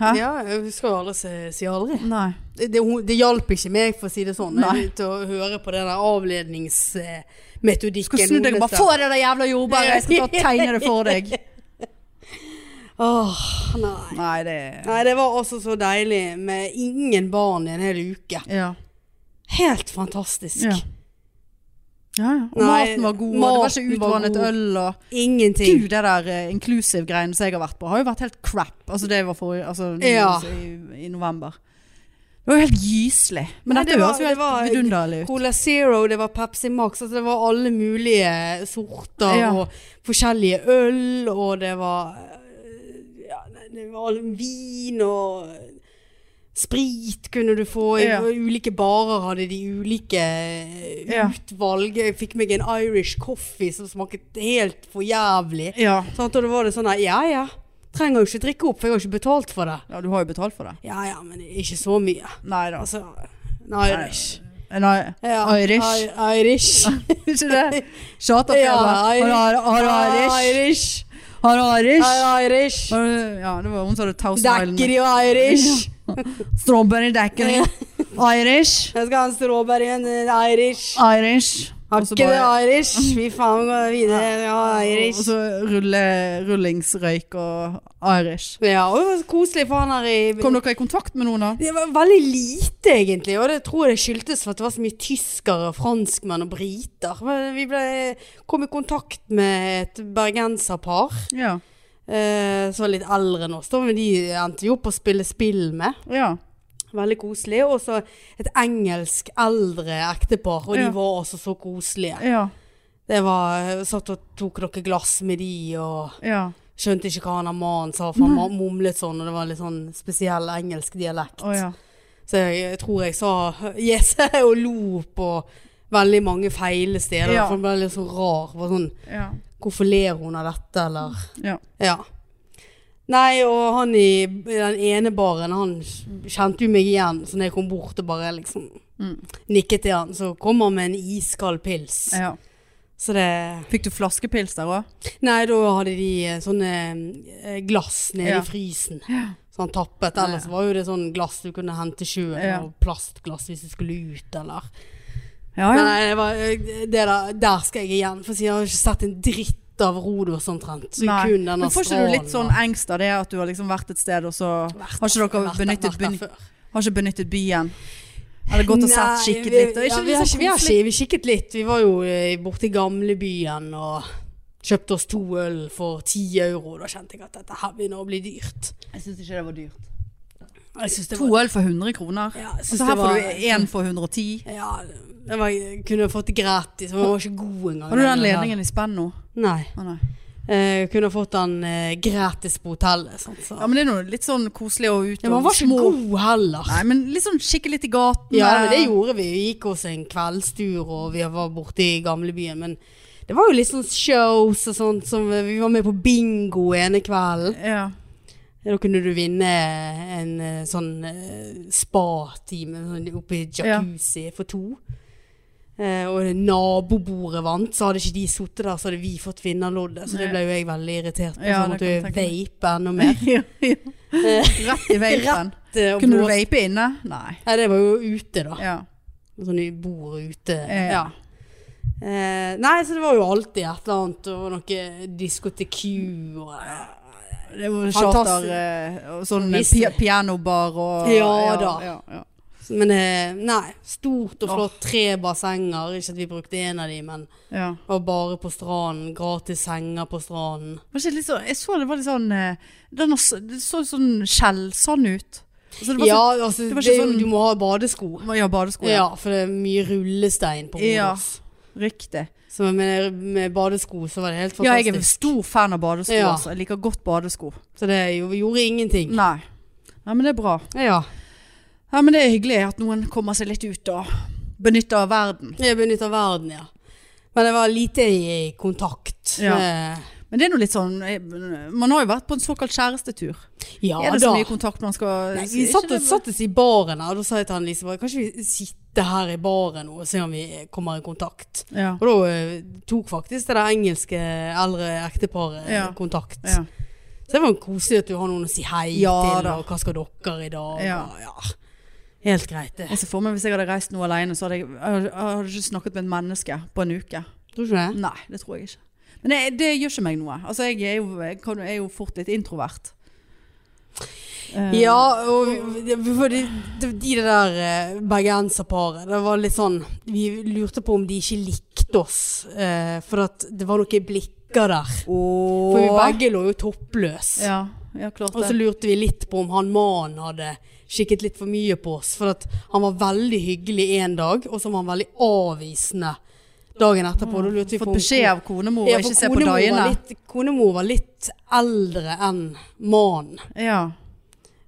Speaker 1: Hæ?
Speaker 2: Ja, jeg skal jo aldri si, si aldri.
Speaker 1: Nei.
Speaker 2: Det, det, det hjalp ikke meg, for å si det sånn,
Speaker 1: Nei.
Speaker 2: til å høre på den der avledningsmetodikken.
Speaker 1: Skal snu deg og bare Få det der jævla jordbæret! Jeg skal ta og tegne det for deg.
Speaker 2: Åh, nei.
Speaker 1: Nei, det
Speaker 2: Nei, det var også så deilig med ingen barn i en hel uke.
Speaker 1: Ja.
Speaker 2: Helt fantastisk.
Speaker 1: Ja. Ja, ja. Og
Speaker 2: Nei,
Speaker 1: maten var god, og det var
Speaker 2: maten
Speaker 1: ikke
Speaker 2: var
Speaker 1: utvannet
Speaker 2: god.
Speaker 1: øl og
Speaker 2: Ingenting.
Speaker 1: Gud, det der eh, inclusive-greien som jeg har vært på, har jo vært helt crap. Altså, det var forrige altså, nå,
Speaker 2: Ja.
Speaker 1: altså, i, i november. Det var jo helt gyselig. Men
Speaker 2: Nei,
Speaker 1: dette
Speaker 2: det var-
Speaker 1: høres jo
Speaker 2: det
Speaker 1: helt
Speaker 2: var-
Speaker 1: vidunderlig ut.
Speaker 2: Cola Zero, det var Pepsi Max, altså det var alle mulige sorter
Speaker 1: Ja.
Speaker 2: og forskjellige øl, og det var øh, ja, det var all- vin og eh, sprit kunne du få. I
Speaker 1: Ja.
Speaker 2: ulike barer hadde de ulike eh,
Speaker 1: Ja.
Speaker 2: utvalg. Jeg fikk meg en Irish coffee som smaket helt for jævlig.
Speaker 1: Ja.
Speaker 2: Sant? Og da var det sånn her, ja ja, trenger jo ikke drikke opp, for jeg har ikke betalt for det.
Speaker 1: ja, du har jo betalt for det.
Speaker 2: Ja ja, men ikke så mye.
Speaker 1: Nei da.
Speaker 2: Altså, en Irish.
Speaker 1: En i-
Speaker 2: Ja,
Speaker 1: Irish.
Speaker 2: I- Irish.
Speaker 1: Ikke det? Charterfeber.
Speaker 2: Ja, Irish.
Speaker 1: Har du- har du Irish?
Speaker 2: Irish.
Speaker 1: Har du Irish?
Speaker 2: Irish.
Speaker 1: Har du- Ja, det var hun som hadde Thousand
Speaker 2: Dekker
Speaker 1: Island.
Speaker 2: de var Irish.
Speaker 1: Strawberry Dackery. Irish.
Speaker 2: Jeg skal ha en strawberry en eh, Irish.
Speaker 1: Irish. Og Ah, så
Speaker 2: Ikke det
Speaker 1: bare- Mm.
Speaker 2: Irish. Vi faen går videre. Ja, Irish.
Speaker 1: Og så rulle, rullingsrøyk og Irish.
Speaker 2: Ja, og det var så koselig for han her i
Speaker 1: Kom dere i kontakt med noen da?
Speaker 2: Det var veldig lite, egentlig. Og det tror jeg det skyldtes for at det var så mye tyskere, franskmenn og briter. Men vi ble, kom i kontakt med et bergenserpar
Speaker 1: Ja.
Speaker 2: eh, som var litt eldre enn oss. da, Men de endte jo opp å spille spill med.
Speaker 1: ja.
Speaker 2: Veldig koselig. Og så et engelsk eldre ektepar, og
Speaker 1: Ja.
Speaker 2: de var også så koselige.
Speaker 1: Ja.
Speaker 2: Det var, jeg satt og tok noen glass med de, og
Speaker 1: Ja.
Speaker 2: skjønte ikke hva han der mannen sa, for han ma- mumlet sånn, og det var litt sånn spesiell engelsk dialekt.
Speaker 1: Å ja.
Speaker 2: Så jeg, jeg tror jeg sa yes og lo på veldig mange feile steder.
Speaker 1: Ja.
Speaker 2: For han ble litt sånn rar. Var sånn,
Speaker 1: Ja.
Speaker 2: Hvorfor ler hun av dette, eller
Speaker 1: ja.
Speaker 2: Ja. Nei, og han i i den ene baren, han kjente jo meg igjen, så når jeg kom bort og bare liksom
Speaker 1: Mm.
Speaker 2: nikket til han, så kom han med en iskald pils.
Speaker 1: ja.
Speaker 2: Så det
Speaker 1: Fikk du flaskepils der òg?
Speaker 2: Nei, da hadde de eh, sånne eh, glass nede
Speaker 1: Ja.
Speaker 2: i frysen. sånn tappet. Ellers var jo det sånn glass du kunne hente sjøl,
Speaker 1: Ja.
Speaker 2: og plastglass hvis du skulle ut, eller
Speaker 1: Ja,
Speaker 2: Men
Speaker 1: ja.
Speaker 2: Nei, det var, eh, det der, der skal jeg igjen, for jeg har ikke sett en dritt av Rodos omtrent. Så
Speaker 1: Nei.
Speaker 2: kun denne
Speaker 1: Men får ikke du litt
Speaker 2: stralen
Speaker 1: sånn engst av det at du har liksom vært et sted, og så
Speaker 2: vært
Speaker 1: har ikke
Speaker 2: der-
Speaker 1: dere
Speaker 2: vært der-
Speaker 1: benyttet,
Speaker 2: vært der
Speaker 1: byen-
Speaker 2: før.
Speaker 1: har ikke benyttet byen? Eller gått og sett,
Speaker 2: Nei,
Speaker 1: kikket
Speaker 2: vi-
Speaker 1: litt? Og
Speaker 2: ja,
Speaker 1: ikke
Speaker 2: vi, har,
Speaker 1: liksom
Speaker 2: ikke- vi, har,
Speaker 1: koselig?
Speaker 2: ikke- vi kikket litt. Vi var jo eh, borte i gamlebyen og kjøpte oss to øl for ti euro. Da kjente jeg at dette her begynner å bli dyrt.
Speaker 1: Jeg syns ikke det var dyrt.
Speaker 2: Jeg synes det
Speaker 1: To
Speaker 2: var,
Speaker 1: øl for 100 kroner.
Speaker 2: ja, jeg
Speaker 1: Og
Speaker 2: synes
Speaker 1: så her
Speaker 2: det var,
Speaker 1: får du én for 110.
Speaker 2: Ja, det var, jeg kunne fått det gratis. men Den var ikke god engang.
Speaker 1: Har du den ledningen i spenn nå?
Speaker 2: Nei.
Speaker 1: Å, nei.
Speaker 2: Eh, Jeg kunne fått den eh, gratis på hotellet. Sånn, så.
Speaker 1: Ja, men det er noe litt sånn koselig å ut
Speaker 2: Ja, men han var ikke god heller.
Speaker 1: Nei, men litt sånn kikke litt i gaten. eh,
Speaker 2: Ja, men det gjorde vi. Vi gikk oss en kveldstur, og vi var borte i gamlebyen. Men det var jo litt sånn shows og sånt. Som vi var med på bingo ene kvelden.
Speaker 1: Ja.
Speaker 2: Da kunne du vinne en eh, sånn eh, spa-time sånn oppe i jacuzzi for to. Eh, og nabobordet vant, så hadde ikke de sittet der, så hadde vi fått vinnerloddet. Så
Speaker 1: Nei.
Speaker 2: det ble jo jeg veldig irritert på.
Speaker 1: Ja,
Speaker 2: så
Speaker 1: det kan jeg
Speaker 2: måtte jeg
Speaker 1: tenke
Speaker 2: vape enda mer.
Speaker 1: Ja, ja. Rett i vapen.
Speaker 2: Det- og
Speaker 1: Kunne du
Speaker 2: blåse-
Speaker 1: vape inne? Nei.
Speaker 2: Nei, det var jo ute, da.
Speaker 1: Ja.
Speaker 2: Sånn i bord ute.
Speaker 1: Ja.
Speaker 2: Ja. Eh, nei, så det var jo alltid et eller annet, og noe diskotek og eh,
Speaker 1: Det var
Speaker 2: Fantastisk.
Speaker 1: charter eh, og sånn eh,
Speaker 2: Visst.
Speaker 1: pi pianobar og
Speaker 2: Ja da.
Speaker 1: Ja, ja.
Speaker 2: Men eh, nei, stort og
Speaker 1: Åh.
Speaker 2: flott. Tre bassenger. Ikke at vi brukte en av de, men
Speaker 1: ja.
Speaker 2: var bare på stranden. Gratis senger på stranden.
Speaker 1: Var ikke det litt sånn, jeg så det var litt sånn eh, den har s- Det så sånn skjellsand ut. Altså, det var
Speaker 2: Ja, altså,
Speaker 1: det
Speaker 2: det
Speaker 1: var ikke sånn-
Speaker 2: du må ha badesko.
Speaker 1: sånn, ja badesko. Ja.
Speaker 2: Ja, for det er mye rullestein på
Speaker 1: Ja.
Speaker 2: Rodos.
Speaker 1: Riktig.
Speaker 2: Så med, med badesko så var det helt
Speaker 1: Ja, jeg er
Speaker 2: fantastisk.
Speaker 1: stor fan av badesko.
Speaker 2: Ja.
Speaker 1: Altså. Jeg liker godt badesko.
Speaker 2: Så det jo- gjorde ingenting.
Speaker 1: Nei. Nei, men det er bra.
Speaker 2: Ja.
Speaker 1: Ja, men det er hyggelig at noen kommer seg litt ut og benytter verden.
Speaker 2: Jeg benytter verden, ja. Men jeg var lite i kontakt.
Speaker 1: Ja.
Speaker 2: med-
Speaker 1: Men det er nå litt sånn eh, Man har jo vært på en såkalt kjærestetur.
Speaker 2: ja
Speaker 1: er det
Speaker 2: da.
Speaker 1: så mye kontakt man skal
Speaker 2: Nei, vi
Speaker 1: Er
Speaker 2: satt,
Speaker 1: ikke det-
Speaker 2: satt oss i baren her, og da sa jeg til han Lise bare, Kanskje vi sitter her i baren nå og ser om vi kommer i kontakt.
Speaker 1: ja.
Speaker 2: Og da eh, tok faktisk det der engelske eldre ekteparet
Speaker 1: Ja.
Speaker 2: kontakt.
Speaker 1: Ja.
Speaker 2: Så det var jo koselig at du har noen å si hei
Speaker 1: Ja,
Speaker 2: til,
Speaker 1: da.
Speaker 2: og hva skal dere i dag?
Speaker 1: Ja.
Speaker 2: Og, ja. Helt greit, det.
Speaker 1: Jeg ser for meg hvis jeg hadde reist noe alene, så hadde jeg, jeg hadde ikke snakket med et menneske på en uke.
Speaker 2: Tror du ikke det?
Speaker 1: Nei, det tror jeg ikke. Men det, det gjør ikke meg noe. Altså, jeg er jo, jeg kan, jeg er jo fort litt introvert. Eh,
Speaker 2: Ja, og vi- vi- for de, de, de der eh, bergenserparet, det var litt sånn Vi lurte på om de ikke likte oss, eh, for at det var noen blikker der. For vi
Speaker 1: Og
Speaker 2: begge lå jo toppløs.
Speaker 1: ja, ja, klart
Speaker 2: Og så
Speaker 1: det.
Speaker 2: lurte vi litt på om han mannen hadde kikket litt for mye på oss. For at han var veldig hyggelig en dag, og så var han veldig avvisende dagen etterpå. Da lurte vi på
Speaker 1: Fått
Speaker 2: om
Speaker 1: beskjed av konemor
Speaker 2: Ja,
Speaker 1: å
Speaker 2: for
Speaker 1: ikke se på
Speaker 2: konemor var
Speaker 1: dagene.
Speaker 2: litt- Konemor var litt eldre enn mannen.
Speaker 1: Ja.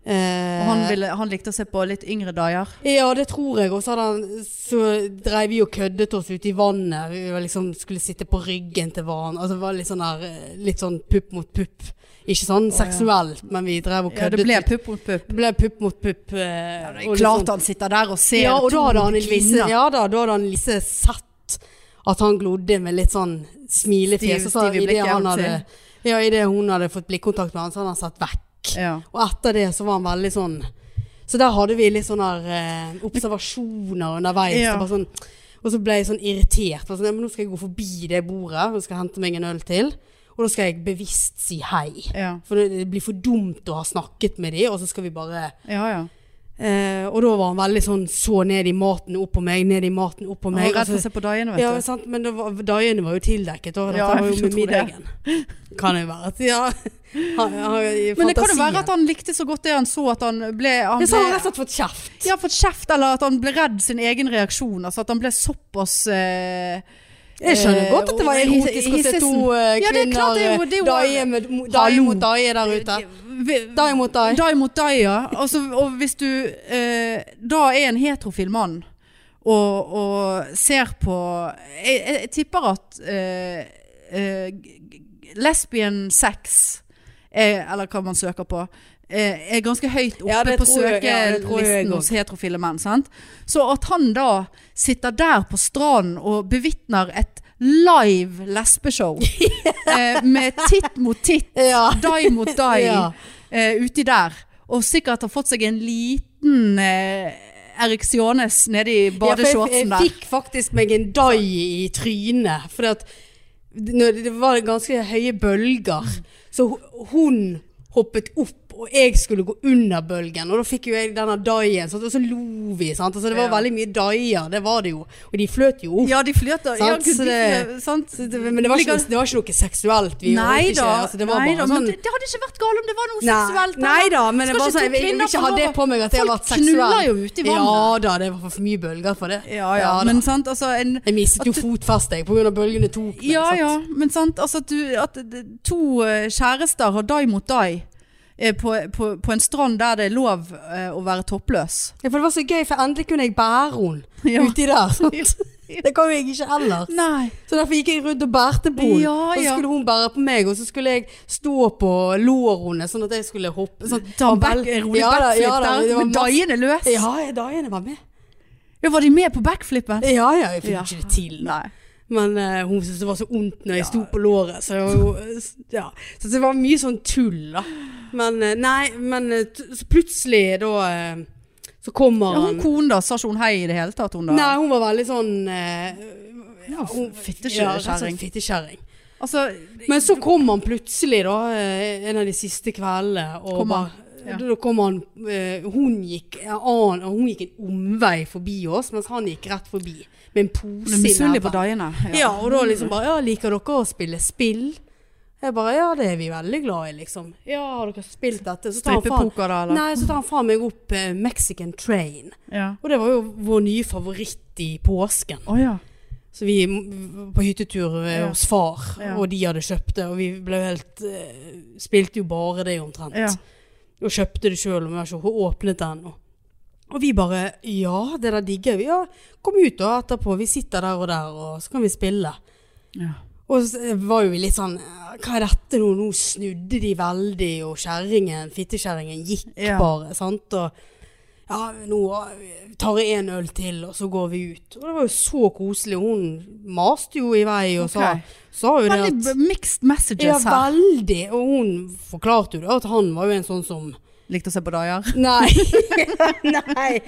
Speaker 2: Eh,
Speaker 1: Og han, ville, han likte å se på litt yngre dager.
Speaker 2: Ja, det tror jeg. Og så, hadde han- så dreiv vi og køddet oss ute i vannet. Vi var liksom skulle sitte på ryggen til hverandre. Altså, det var litt sånn, der, eh, litt sånn pupp mot pupp. Ikke sånn seksuelt, men vi drev og
Speaker 1: Ja,
Speaker 2: køddet.
Speaker 1: det ble
Speaker 2: ut-
Speaker 1: pupp mot pupp.
Speaker 2: det ble pupp mot pupp. eh,
Speaker 1: Ja, det
Speaker 2: og
Speaker 1: er
Speaker 2: litt
Speaker 1: klart
Speaker 2: sånn-
Speaker 1: han sitter der og ser
Speaker 2: ja, og da hadde
Speaker 1: to
Speaker 2: han Elise,
Speaker 1: kvinner.
Speaker 2: ja, da, da hadde han Elise sett at han glodde med litt sånn smilefjes.
Speaker 1: Stiv-
Speaker 2: Og så
Speaker 1: stiv i
Speaker 2: i det
Speaker 1: blikket,
Speaker 2: han
Speaker 1: holdt
Speaker 2: hadde, ja, i det hun hadde fått blikkontakt med han, så hadde han sett vekk.
Speaker 1: Ja.
Speaker 2: Og etter det så var han veldig sånn Så der hadde vi litt sånne eh, observasjoner underveis.
Speaker 1: Ja.
Speaker 2: Det var sånn, og så ble jeg sånn irritert. Bare Sånn, ja, men nå skal jeg gå forbi det bordet og skal hente meg en øl til. Og da skal jeg bevisst si hei.
Speaker 1: Ja.
Speaker 2: For det, det blir for dumt å ha snakket med de, og så skal vi bare
Speaker 1: ja, ja.
Speaker 2: Eh, og da var han veldig sånn så ned i maten, opp på meg, ned i maten, opp på
Speaker 1: Han
Speaker 2: meg.
Speaker 1: var redd for å
Speaker 2: og så-
Speaker 1: se på dagene, vet
Speaker 2: ja,
Speaker 1: du.
Speaker 2: sant, men det var, dagene var jo tildekket, og dette
Speaker 1: Ja, jeg
Speaker 2: var jo med
Speaker 1: tror det.
Speaker 2: middagen. Kan det jo være at ja, han, han, i
Speaker 1: Men det kan jo
Speaker 2: fantasien.
Speaker 1: være at han likte så godt det han så at han ble, sånn han
Speaker 2: Men så har han
Speaker 1: ble
Speaker 2: rett og slett fått kjeft.
Speaker 1: Ja, fått kjeft, eller at han ble redd sin egen reaksjon. Altså at han ble såpass eh,
Speaker 2: Jeg skjønner
Speaker 1: eh,
Speaker 2: godt at det var erotisk å se
Speaker 1: hissesen.
Speaker 2: to eh,
Speaker 1: Ja, det er klart, det
Speaker 2: kvinner
Speaker 1: er jo- det er
Speaker 2: eh,
Speaker 1: jo-
Speaker 2: daie med- mo- daie
Speaker 1: Hallo.
Speaker 2: mot daie der ute.
Speaker 1: Vi-
Speaker 2: Daie mot daie.
Speaker 1: Die mot die, ja. Altså, og hvis du eh, da er en heterofil mann og, og ser på Jeg, jeg, jeg tipper at eh, eh, g- g- lesbian sex, er, eller hva man søker på, eh, er ganske høyt oppe
Speaker 2: Ja, det
Speaker 1: på
Speaker 2: tror jeg- ja, det tror jeg
Speaker 1: søkelisten
Speaker 2: også.
Speaker 1: hos heterofile menn. Sant? Så at han da sitter der på stranden og bevitner et live lesbeshow eh, med titt mot titt
Speaker 2: Ja.
Speaker 1: die mot die
Speaker 2: Ja.
Speaker 1: eh, uti der. og sikkert har fått seg en liten eh, ereksjones nede i
Speaker 2: for jeg,
Speaker 1: badeshortsen
Speaker 2: jeg
Speaker 1: der.
Speaker 2: fikk faktisk meg en dai i trynet. For at når det var ganske høye bølger. Så ho- hun hoppet opp, og jeg skulle gå under bølgen. Og da fikk jo jeg denne daien, sant, og så lo vi. Sant? Altså, det var
Speaker 1: Ja.
Speaker 2: veldig mye daier, det var det jo. Og de fløt jo opp.
Speaker 1: Ja, de fløter. Ja,
Speaker 2: Sant,
Speaker 1: gud, de
Speaker 2: så det-
Speaker 1: flø- sant?
Speaker 2: Så det, men det var, ikke,
Speaker 1: Ligger-
Speaker 2: noe- det var ikke noe seksuelt. Vi holdt
Speaker 1: Nei
Speaker 2: ikke,
Speaker 1: da,
Speaker 2: altså, det var
Speaker 1: nei
Speaker 2: bare
Speaker 1: da
Speaker 2: sånn-
Speaker 1: men det, det hadde ikke vært galt om det var noe
Speaker 2: Nei,
Speaker 1: seksuelt.
Speaker 2: nei da, men det
Speaker 1: Skal ikke
Speaker 2: var sånn, jeg,
Speaker 1: to
Speaker 2: jeg vil
Speaker 1: kvinner få
Speaker 2: ikke ha
Speaker 1: lov
Speaker 2: det
Speaker 1: å-
Speaker 2: på meg at jeg har
Speaker 1: Folk
Speaker 2: vært seksuell.
Speaker 1: knuller jo ute i vannet.
Speaker 2: Ja da, det var for mye bølger for det.
Speaker 1: Ja, ja,
Speaker 2: da.
Speaker 1: men sant, altså en,
Speaker 2: jeg mistet jo fotfestet jeg, på grunn av bølgene tok meg.
Speaker 1: Ja,
Speaker 2: sant?
Speaker 1: ja, men sant, altså at, du, at d- to eh, kjærester har dai mot dai eh, på, på, på en strand der det er lov eh, å være toppløs.
Speaker 2: Ja, For det var så gøy, for endelig kunne jeg bære henne
Speaker 1: Ja.
Speaker 2: uti der. Sant? Det kan jo jeg ikke ellers.
Speaker 1: Nei.
Speaker 2: Så derfor gikk jeg rundt og bærte på henne.
Speaker 1: Ja,
Speaker 2: Og så
Speaker 1: ja.
Speaker 2: skulle hun bære på meg, og så skulle jeg stå på låret hennes, sånn at jeg skulle hoppe. Sånn,
Speaker 1: Ta en
Speaker 2: vel-
Speaker 1: back, en rolig
Speaker 2: Ja da,
Speaker 1: backflip
Speaker 2: ja da, det
Speaker 1: der,
Speaker 2: var
Speaker 1: med
Speaker 2: masse-
Speaker 1: daiene løs. Ja.
Speaker 2: Ja, jeg- daiene var med.
Speaker 1: var de med på backflippen?
Speaker 2: Ja, ja, jeg fikk
Speaker 1: Ja.
Speaker 2: ikke det til.
Speaker 1: Nei.
Speaker 2: Men eh, hun syntes det var så ondt når jeg sto på låret, så, det var jo, eh, s- ja. så det var mye sånn tull, da. Men eh, nei, men eh, t- så plutselig da eh, Så kommer
Speaker 1: Ja, hun
Speaker 2: han
Speaker 1: konen da, sa ikke hun hei i det hele tatt? Hun da?
Speaker 2: Nei, hun var veldig sånn eh,
Speaker 1: Ja,
Speaker 2: hun-
Speaker 1: fittekjø-
Speaker 2: ja, rett og slett
Speaker 1: kjerring.
Speaker 2: Fittekjerring.
Speaker 1: Altså,
Speaker 2: Men så kom han plutselig, da, eh, en av de siste kveldene. Og
Speaker 1: Kom han,
Speaker 2: bare-
Speaker 1: ja.
Speaker 2: Da kom han eh, Hun gikk en annen og hun gikk en omvei forbi oss, mens han gikk rett forbi med en
Speaker 1: hun
Speaker 2: pose
Speaker 1: er misunnelig på
Speaker 2: neven.
Speaker 1: daiene.
Speaker 2: Ja, og da liksom bare Ja, liker dere å spille spill? Jeg bare Ja, det er vi veldig glad i, liksom. Ja, har dere spilt dette? Så tar han faen
Speaker 1: Strippepoker da, eller?
Speaker 2: Nei, så tar han faen meg opp eh, Mexican Train.
Speaker 1: Ja.
Speaker 2: Og det var jo vår nye favoritt i påsken.
Speaker 1: Å ja.
Speaker 2: Så vi m- på hyttetur eh,
Speaker 1: Ja.
Speaker 2: hos far,
Speaker 1: Ja.
Speaker 2: og de hadde kjøpt det, og vi ble jo helt eh, Spilte jo bare det omtrent.
Speaker 1: Ja.
Speaker 2: Og kjøpte det sjøl, og vi har ikke åpnet det ennå. Og vi bare Ja, det der digger vi. Ja, kom ut da etterpå. Vi sitter der og der, og så kan vi spille.
Speaker 1: Ja.
Speaker 2: Og så var jo vi litt sånn Hva er dette nå? Nå snudde de veldig, og kjerringen, fittekjerringen, gikk
Speaker 1: Ja.
Speaker 2: bare. Sant? Og ja, nå tar jeg en øl til, og så går vi ut. Og det var jo så koselig. Hun maste jo i vei og
Speaker 1: Ok.
Speaker 2: sa, sa jo det
Speaker 1: Veldig
Speaker 2: at
Speaker 1: b- mixed messages
Speaker 2: ja,
Speaker 1: her.
Speaker 2: veldig. Og hun forklarte jo det, at han var jo en sånn som
Speaker 1: Likte å se på daier.
Speaker 2: Nei. Nei.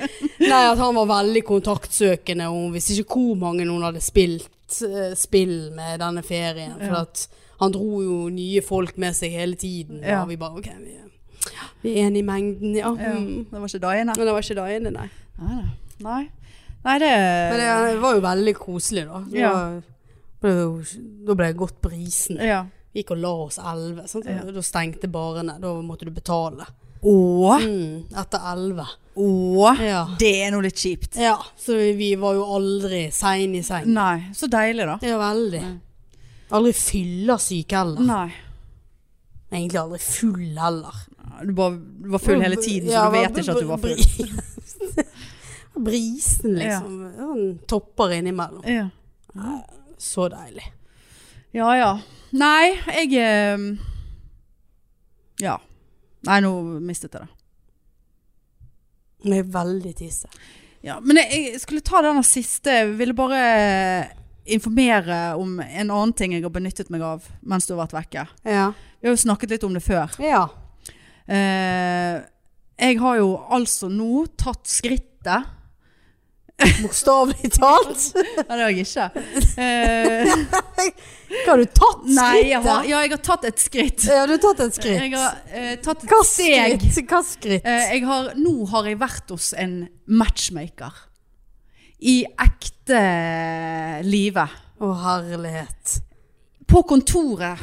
Speaker 2: Nei, at han var veldig kontaktsøkende, og hun visste ikke hvor mange hun hadde spilt eh, spill med denne ferien. For
Speaker 1: Ja.
Speaker 2: at han dro jo nye folk med seg hele tiden,
Speaker 1: Ja.
Speaker 2: og vi bare OK, vi, vi er enige i mengden, ja.
Speaker 1: Ja.
Speaker 2: Mm.
Speaker 1: Det var ikke daiene.
Speaker 2: Men det var ikke dagene, nei.
Speaker 1: Nei, nei. Nei, nei det
Speaker 2: Men det var jo veldig koselig, da. Det
Speaker 1: Ja.
Speaker 2: var- ble jo- Da ble jeg godt brisen.
Speaker 1: Ja.
Speaker 2: Vi gikk og la oss elleve. sant?
Speaker 1: Ja.
Speaker 2: Da stengte barene. Da måtte du betale.
Speaker 1: Å,
Speaker 2: Mm, etter elleve.
Speaker 1: å.
Speaker 2: Ja.
Speaker 1: Det er noe litt kjipt.
Speaker 2: Ja, så vi var jo aldri sein i seng.
Speaker 1: Nei, så deilig da.
Speaker 2: Det er veldig. Aldri fyllesyk heller.
Speaker 1: Nei.
Speaker 2: Egentlig aldri full heller.
Speaker 1: Du bare du var full hele tiden, så
Speaker 2: Mm.
Speaker 1: du
Speaker 2: Ja,
Speaker 1: vet
Speaker 2: br-
Speaker 1: ikke at du var full.
Speaker 2: br- Brisen, liksom. Sånn Topper innimellom.
Speaker 1: Ja.
Speaker 2: Så deilig.
Speaker 1: ja ja. Nei, jeg eh, Ja. Nei, nå mistet jeg det.
Speaker 2: Med veldig tisse.
Speaker 1: Ja, men jeg, jeg skulle ta denne siste. Jeg ville bare informere om en annen ting jeg har benyttet meg av mens du har vært vekke.
Speaker 2: Ja.
Speaker 1: Vi har jo snakket litt om det før.
Speaker 2: Ja.
Speaker 1: Eh, jeg har jo altså nå tatt skrittet
Speaker 2: Bokstavelig talt.
Speaker 1: Nei, det har jeg ikke. Eh,
Speaker 2: Hva har du tatt skrittet?
Speaker 1: nei, jeg har, ja, jeg har tatt et skritt.
Speaker 2: Ja, du har tatt et skritt.
Speaker 1: Jeg har eh, tatt et
Speaker 2: Hva
Speaker 1: steg.
Speaker 2: skritt? Hva skritt?
Speaker 1: Eh, jeg har, nå har jeg vært hos en matchmaker. I ekte eh, live.
Speaker 2: Å, herlighet.
Speaker 1: På kontoret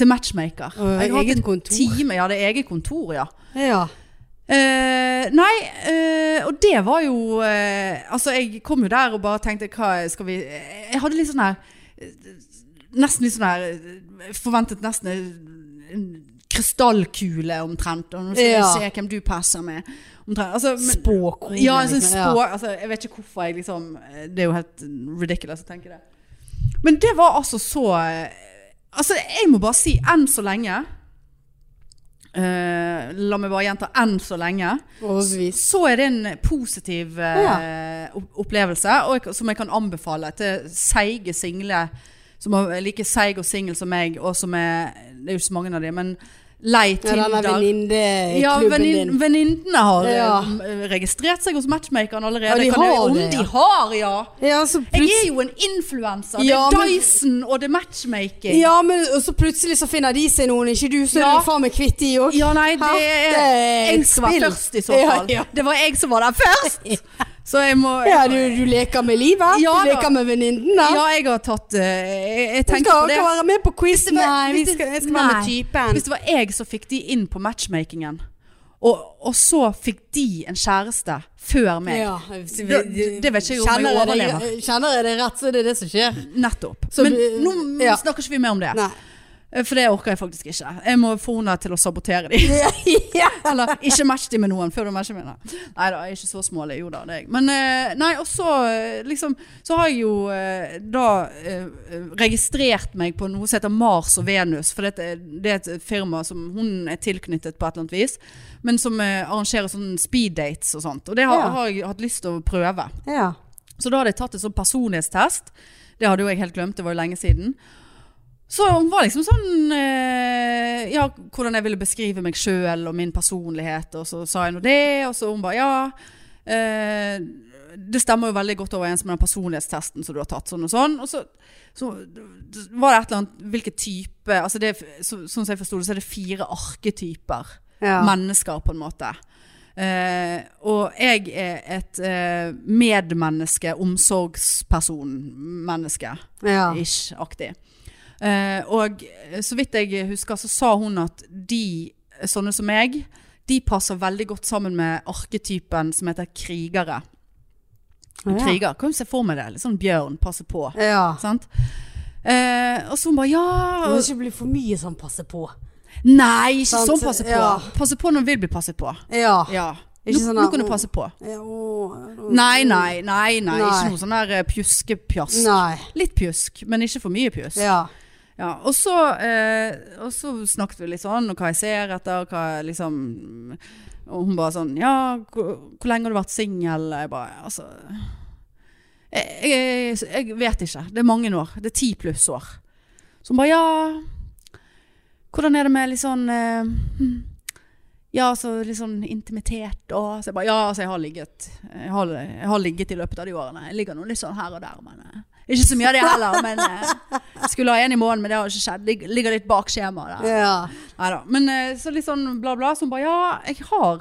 Speaker 1: til matchmaker.
Speaker 2: Å,
Speaker 1: jeg har hatt
Speaker 2: eget
Speaker 1: en
Speaker 2: kontor?
Speaker 1: time. Ja, det er eget kontor, ja.
Speaker 2: Ja.
Speaker 1: Eh, nei, eh, og det var jo eh, Altså, jeg kom jo der og bare tenkte hva skal vi Jeg hadde litt sånn her eh, Nesten litt sånn her eh, Forventet nesten eh, en krystallkule omtrent. Og nå skal
Speaker 2: Ja.
Speaker 1: vi se hvem du passer med. Omtrent. Altså, men,
Speaker 2: Spåkone.
Speaker 1: ja, en sånn
Speaker 2: liksom.
Speaker 1: spå altså, Jeg vet ikke hvorfor jeg liksom Det er jo helt ridiculous å tenke det. Men det var altså så Altså, jeg må bare si enn så lenge eh, La meg bare gjenta enn så lenge.
Speaker 2: Overbevist.
Speaker 1: Så er det en positiv eh, opp- opplevelse, og jeg, som jeg kan anbefale til seige single som er like seig og singel som meg, og som er Det er jo ikke så mange av de, men Lei
Speaker 2: Ja, denne
Speaker 1: Tinder.
Speaker 2: venninneklubben
Speaker 1: Ja, venin-
Speaker 2: Eh, din.
Speaker 1: venninnene har eh,
Speaker 2: Ja.
Speaker 1: m- registrert seg hos matchmakeren allerede.
Speaker 2: Ja, de
Speaker 1: Kan jeg-
Speaker 2: har
Speaker 1: om
Speaker 2: det, ja.
Speaker 1: de har, ja.
Speaker 2: Ja, så
Speaker 1: Jeg
Speaker 2: plutselig
Speaker 1: er jo en influenser.
Speaker 2: Ja,
Speaker 1: det er
Speaker 2: men-
Speaker 1: Dyson og det er matchmaking.
Speaker 2: Ja, men og så plutselig så finner de seg noen, ikke du, så er
Speaker 1: Ja.
Speaker 2: du faen meg kvitt de òg.
Speaker 1: Ja, nei, det
Speaker 2: Hæ?
Speaker 1: er
Speaker 2: Det er
Speaker 1: jeg
Speaker 2: et
Speaker 1: som var
Speaker 2: eh, spill.
Speaker 1: først i så fall.
Speaker 2: Ja, ja.
Speaker 1: Det var jeg som var der først! Så jeg må
Speaker 2: Ja, du, du leker med livet.
Speaker 1: Ja,
Speaker 2: du
Speaker 1: da.
Speaker 2: leker med venninnene.
Speaker 1: Ja, jeg har tatt eh, Jeg, jeg
Speaker 2: du
Speaker 1: tenker
Speaker 2: skal
Speaker 1: på
Speaker 2: ikke
Speaker 1: det.
Speaker 2: være med på
Speaker 1: Hvis
Speaker 2: quiz.
Speaker 1: det var- hvis det- nei.
Speaker 2: typen.
Speaker 1: Hvis det var jeg som fikk de inn på matchmakingen, og, og så fikk de en kjæreste før meg.
Speaker 2: Ja, hvis-
Speaker 1: Det- det- det vet ikke jeg om jeg
Speaker 2: Kjenner deg-
Speaker 1: overlever.
Speaker 2: Kjenner jeg det rett, så er det det som skjer.
Speaker 1: Nettopp.
Speaker 2: Så
Speaker 1: Men
Speaker 2: du-
Speaker 1: nå
Speaker 2: ja.
Speaker 1: snakker ikke vi mer om det.
Speaker 2: Nei.
Speaker 1: Eh, For det orker jeg faktisk ikke. Jeg må få henne til å sabotere de.
Speaker 2: ja.
Speaker 1: Eller ikke match de med noen før du matcher med henne. Nei da, jeg er ikke så smålig. Jo da, det er jeg. Men eh, nei, og så eh, liksom Så har jeg jo eh, da eh, registrert meg på noe som heter Mars og Venus. For det, er et- det er et firma som hun er tilknyttet på et eller annet vis. Men som eh, arrangerer sånne speed dates og sånt. Og det har,
Speaker 2: Ja.
Speaker 1: har jeg hatt lyst til å prøve.
Speaker 2: ja.
Speaker 1: Så da hadde jeg tatt en sånn personlighetstest. Det hadde jo jeg helt glemt, det var jo lenge siden. Så hun var liksom sånn eh, Ja, hvordan jeg ville beskrive meg sjøl og min personlighet, og så sa jeg nå det, og så hun bare ja. Eh, det stemmer jo veldig godt overens med den personlighetstesten som du har tatt, sånn og sånn. Og så, så var det et eller annet Hvilken type altså det, er- så, Sånn som jeg forsto det, så er det fire arketyper
Speaker 2: Ja.
Speaker 1: mennesker, på en måte. Eh, og jeg er et eh, medmenneske, omsorgsperson-menneske.
Speaker 2: ja.
Speaker 1: Ish-aktig. Eh, og så vidt jeg husker, så sa hun at de, sånne som meg, de passer veldig godt sammen med arketypen som heter krigere. En
Speaker 2: Ja.
Speaker 1: kriger, kan du se for meg det? Litt sånn bjørn, passe på.
Speaker 2: ja.
Speaker 1: Sant? Eh, og så hun bare ja
Speaker 2: Det må
Speaker 1: og-
Speaker 2: ikke bli for mye sånn passe på.
Speaker 1: Nei, ikke
Speaker 2: Sant,
Speaker 1: sånn passe på.
Speaker 2: ja.
Speaker 1: Passe på når du vil bli passet på.
Speaker 2: Ja.
Speaker 1: Ja.
Speaker 2: Ikke
Speaker 1: Nå,
Speaker 2: sånn
Speaker 1: nå
Speaker 2: at-
Speaker 1: kan du passe på.
Speaker 2: Ja, å,
Speaker 1: Nei, nei, nei, nei.
Speaker 2: Nei.
Speaker 1: Ikke noe sånn der eh, pjuskepjask.
Speaker 2: Nei.
Speaker 1: Litt pjusk, men ikke for mye pjusk. Ja.
Speaker 2: Ja.
Speaker 1: og, så, eh, og så snakket vi litt sånn, og hva jeg ser etter, og hva jeg liksom Og hun bare sånn Ja, hvor, hvor lenge har du vært singel? Jeg bare Altså jeg, jeg, jeg vet ikke. Det er mange år. Det er ti pluss år. Så hun bare Ja, hvordan er det med litt sånn eh, hm, Ja, altså litt sånn intimitet og Så jeg bare Ja, altså, jeg har ligget. Jeg har, jeg har ligget i løpet av de årene. Jeg ligger nå litt sånn her og der, men eh, Ikke så mye av det heller, men eh, Skulle ha en i måneden, men det har ikke skjedd. Jeg ligger litt bak skjemaet der.
Speaker 2: Ja.
Speaker 1: Neida. Men eh, så litt sånn bla bla, så hun bare ja, jeg har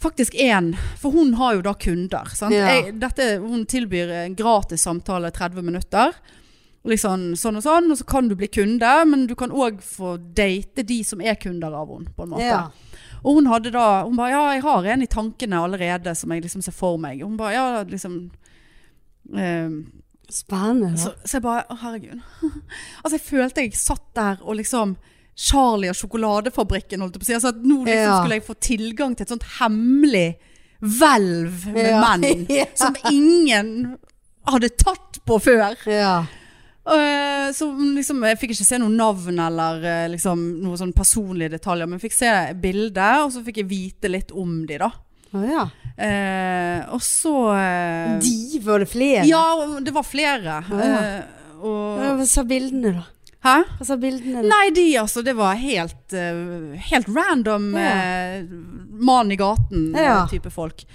Speaker 1: faktisk én, for hun har jo da kunder. Sant?
Speaker 2: Ja.
Speaker 1: Jeg, dette, hun tilbyr en gratis samtale 30 minutter. Og Liksom sånn og sånn, og så kan du bli kunde, men du kan òg få date de som er kunder av henne, på en måte.
Speaker 2: Ja.
Speaker 1: Og hun hadde da Hun bare ja, jeg har en i tankene allerede som jeg liksom ser for meg. Hun bare ja, liksom eh,
Speaker 2: Spennende.
Speaker 1: så, så jeg bare, å herregud. altså jeg følte jeg satt der og liksom Charlie og sjokoladefabrikken holdt jeg på å si. Altså at nå liksom
Speaker 2: Ja.
Speaker 1: skulle jeg få tilgang til et sånt hemmelig hvelv med
Speaker 2: Ja.
Speaker 1: menn som ingen hadde tatt på før.
Speaker 2: Ja.
Speaker 1: Eh, Så liksom, jeg fikk ikke se noe navn eller eh, liksom, noen sånne personlige detaljer, men jeg fikk se bildet, og så fikk jeg vite litt om de da.
Speaker 2: Å, ja.
Speaker 1: Eh, og så... eh,
Speaker 2: De var det flere?
Speaker 1: Ja, og det var flere.
Speaker 2: Ja.
Speaker 1: eh, og,
Speaker 2: Hva sa bildene, da?
Speaker 1: Hæ?
Speaker 2: Hva sa bildene? da?
Speaker 1: Nei, de altså, det var helt, eh, helt random
Speaker 2: Ja.
Speaker 1: eh, mann i gaten eh,
Speaker 2: Ja.
Speaker 1: type folk.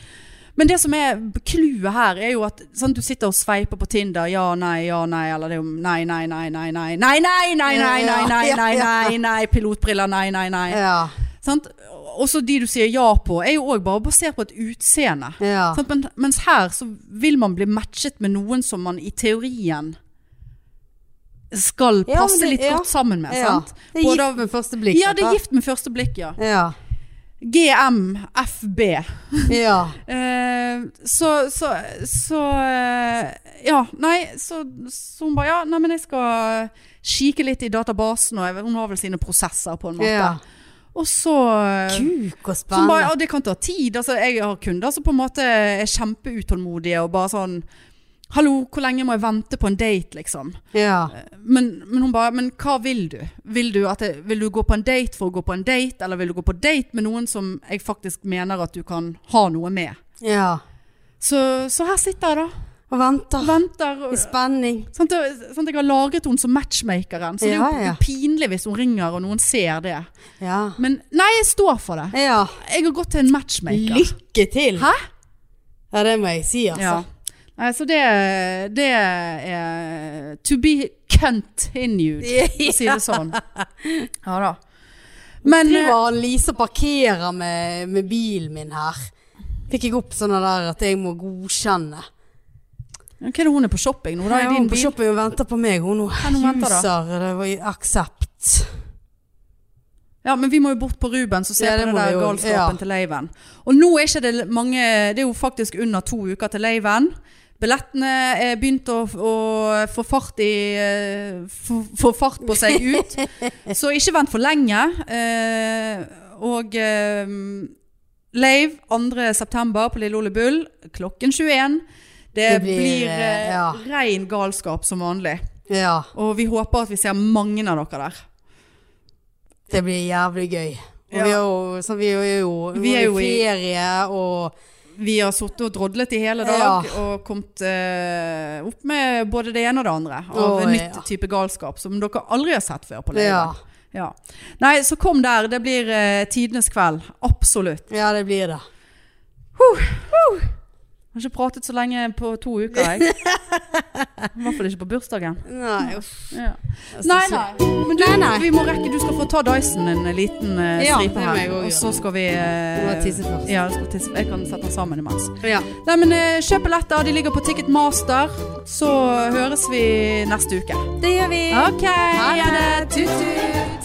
Speaker 1: Men det som er clouet her, er jo at sant, du sitter og sveiper på Tinder. Ja, nei, ja, nei. Eller det er jo nei, nei, nei, nei, nei. Nei, nei, nei, nei, nei, nei,
Speaker 2: Ja,
Speaker 1: nei,
Speaker 2: ja, ja.
Speaker 1: nei, nei. Pilotbriller, nei, nei, nei.
Speaker 2: Ja.
Speaker 1: Sant? Også de du sier ja på, er jo òg bare basert på et utseende.
Speaker 2: Ja.
Speaker 1: Sant? Men, mens her så vil man bli matchet med noen som man i teorien skal
Speaker 2: Ja, men
Speaker 1: passe
Speaker 2: det-
Speaker 1: litt
Speaker 2: ja.
Speaker 1: godt sammen med.
Speaker 2: Ja.
Speaker 1: Sant?
Speaker 2: Det er
Speaker 1: Både
Speaker 2: gift
Speaker 1: av-
Speaker 2: med første blikk.
Speaker 1: ja, det
Speaker 2: dette.
Speaker 1: er gift med første blikk, ja.
Speaker 2: Ja.
Speaker 1: GMFB.
Speaker 2: Ja.
Speaker 1: Eh, så, så, så eh, Ja, nei, så, så hun bare Ja, nei, men jeg skal kike litt i databasen, og jeg, hun har vel sine prosesser, på en måte.
Speaker 2: ja.
Speaker 1: Og så eh, Som
Speaker 2: Kuk og
Speaker 1: bare,
Speaker 2: spennende.
Speaker 1: ja, det kan ta tid. Altså, jeg har kunder som på en måte er kjempeutålmodige og bare sånn Hallo, hvor lenge må jeg vente på en date, liksom?
Speaker 2: Ja.
Speaker 1: Men, men hun bare Men hva vil du? Vil du, at jeg, vil du gå på en date for å gå på en date, eller vil du gå på date med noen som jeg faktisk mener at du kan ha noe med?
Speaker 2: Ja.
Speaker 1: Så, så her sitter jeg, da.
Speaker 2: Og venter.
Speaker 1: Venter og-
Speaker 2: I spenning.
Speaker 1: Sant, det- sant, jeg har lagret henne som matchmakeren, så det er jo
Speaker 2: Ja, ja.
Speaker 1: pinlig hvis hun ringer og noen ser det.
Speaker 2: Ja.
Speaker 1: Men nei, jeg står for det.
Speaker 2: ja.
Speaker 1: Jeg har gått til en matchmaker.
Speaker 2: Lykke til!
Speaker 1: Hæ?
Speaker 2: Ja, det må jeg si, altså.
Speaker 1: Ja. Nei, så det, det er to be continued, for å si det sånn. Ja da. Men eh,
Speaker 2: Driver Lise og parkerer med, med bilen min her. Fikk jeg opp sånne der at jeg må godkjenne.
Speaker 1: eh, Hva er det hun er på shopping nå, da? I
Speaker 2: Ja,
Speaker 1: din
Speaker 2: hun på
Speaker 1: bil?
Speaker 2: shopping og venter på meg. Hun nå
Speaker 1: hun venter da?
Speaker 2: huser det var i aksept.
Speaker 1: Ja, men vi må jo bort på Rubens og se
Speaker 2: Ja,
Speaker 1: på
Speaker 2: det
Speaker 1: den
Speaker 2: må vi
Speaker 1: der
Speaker 2: jo.
Speaker 1: galskapen
Speaker 2: Ja.
Speaker 1: til Leiven. Og nå er ikke det mange Det er jo faktisk under to uker til Leiven. Billettene er begynt å, å få, fart i, eh, få, få fart på seg ut. Så ikke vent for lenge. Eh, og eh, Leiv 2. september på Lille Ole Bull klokken 21. Det,
Speaker 2: Det blir,
Speaker 1: blir, eh,
Speaker 2: ja.
Speaker 1: ren galskap som vanlig.
Speaker 2: Ja,
Speaker 1: Og vi håper at vi ser mange av dere der.
Speaker 2: det blir jævlig gøy. Og
Speaker 1: Ja.
Speaker 2: vi er jo, så vi er jo,
Speaker 1: Vi er jo i-
Speaker 2: ferie og
Speaker 1: Vi har sittet og drodlet i hele dag
Speaker 2: Ja.
Speaker 1: og kommet eh, opp med både det ene og det andre av
Speaker 2: Å,
Speaker 1: en
Speaker 2: ja.
Speaker 1: nytt type galskap som dere aldri har sett før på
Speaker 2: ja.
Speaker 1: leiren. Ja. Nei, så kom der. Det blir eh, tidenes kveld. Absolutt.
Speaker 2: ja, det blir det.
Speaker 1: Jeg har ikke pratet så lenge på to uker, jeg. I hvert fall ikke på bursdagen.
Speaker 2: Nei, uff.
Speaker 1: Ja.
Speaker 2: Jeg
Speaker 1: Nei,
Speaker 2: synes
Speaker 1: nei.
Speaker 2: jeg-
Speaker 1: Men du,
Speaker 2: Nei, nei.
Speaker 1: Vi må rekke. du skal få ta Dyson en liten eh,
Speaker 2: Ja,
Speaker 1: stripe
Speaker 2: det må jeg
Speaker 1: her.
Speaker 2: også
Speaker 1: Og
Speaker 2: gjøre.
Speaker 1: så skal vi eh,
Speaker 2: Du må tisse først.
Speaker 1: Ja, du skal tisse. Jeg kan sette den sammen imens.
Speaker 2: Ja.
Speaker 1: Nei, men eh, kjøp billetter. De ligger på Ticketmaster. Så høres vi neste uke.
Speaker 2: Det gjør vi.
Speaker 1: OK.
Speaker 2: Ha det.
Speaker 1: Tut-tut.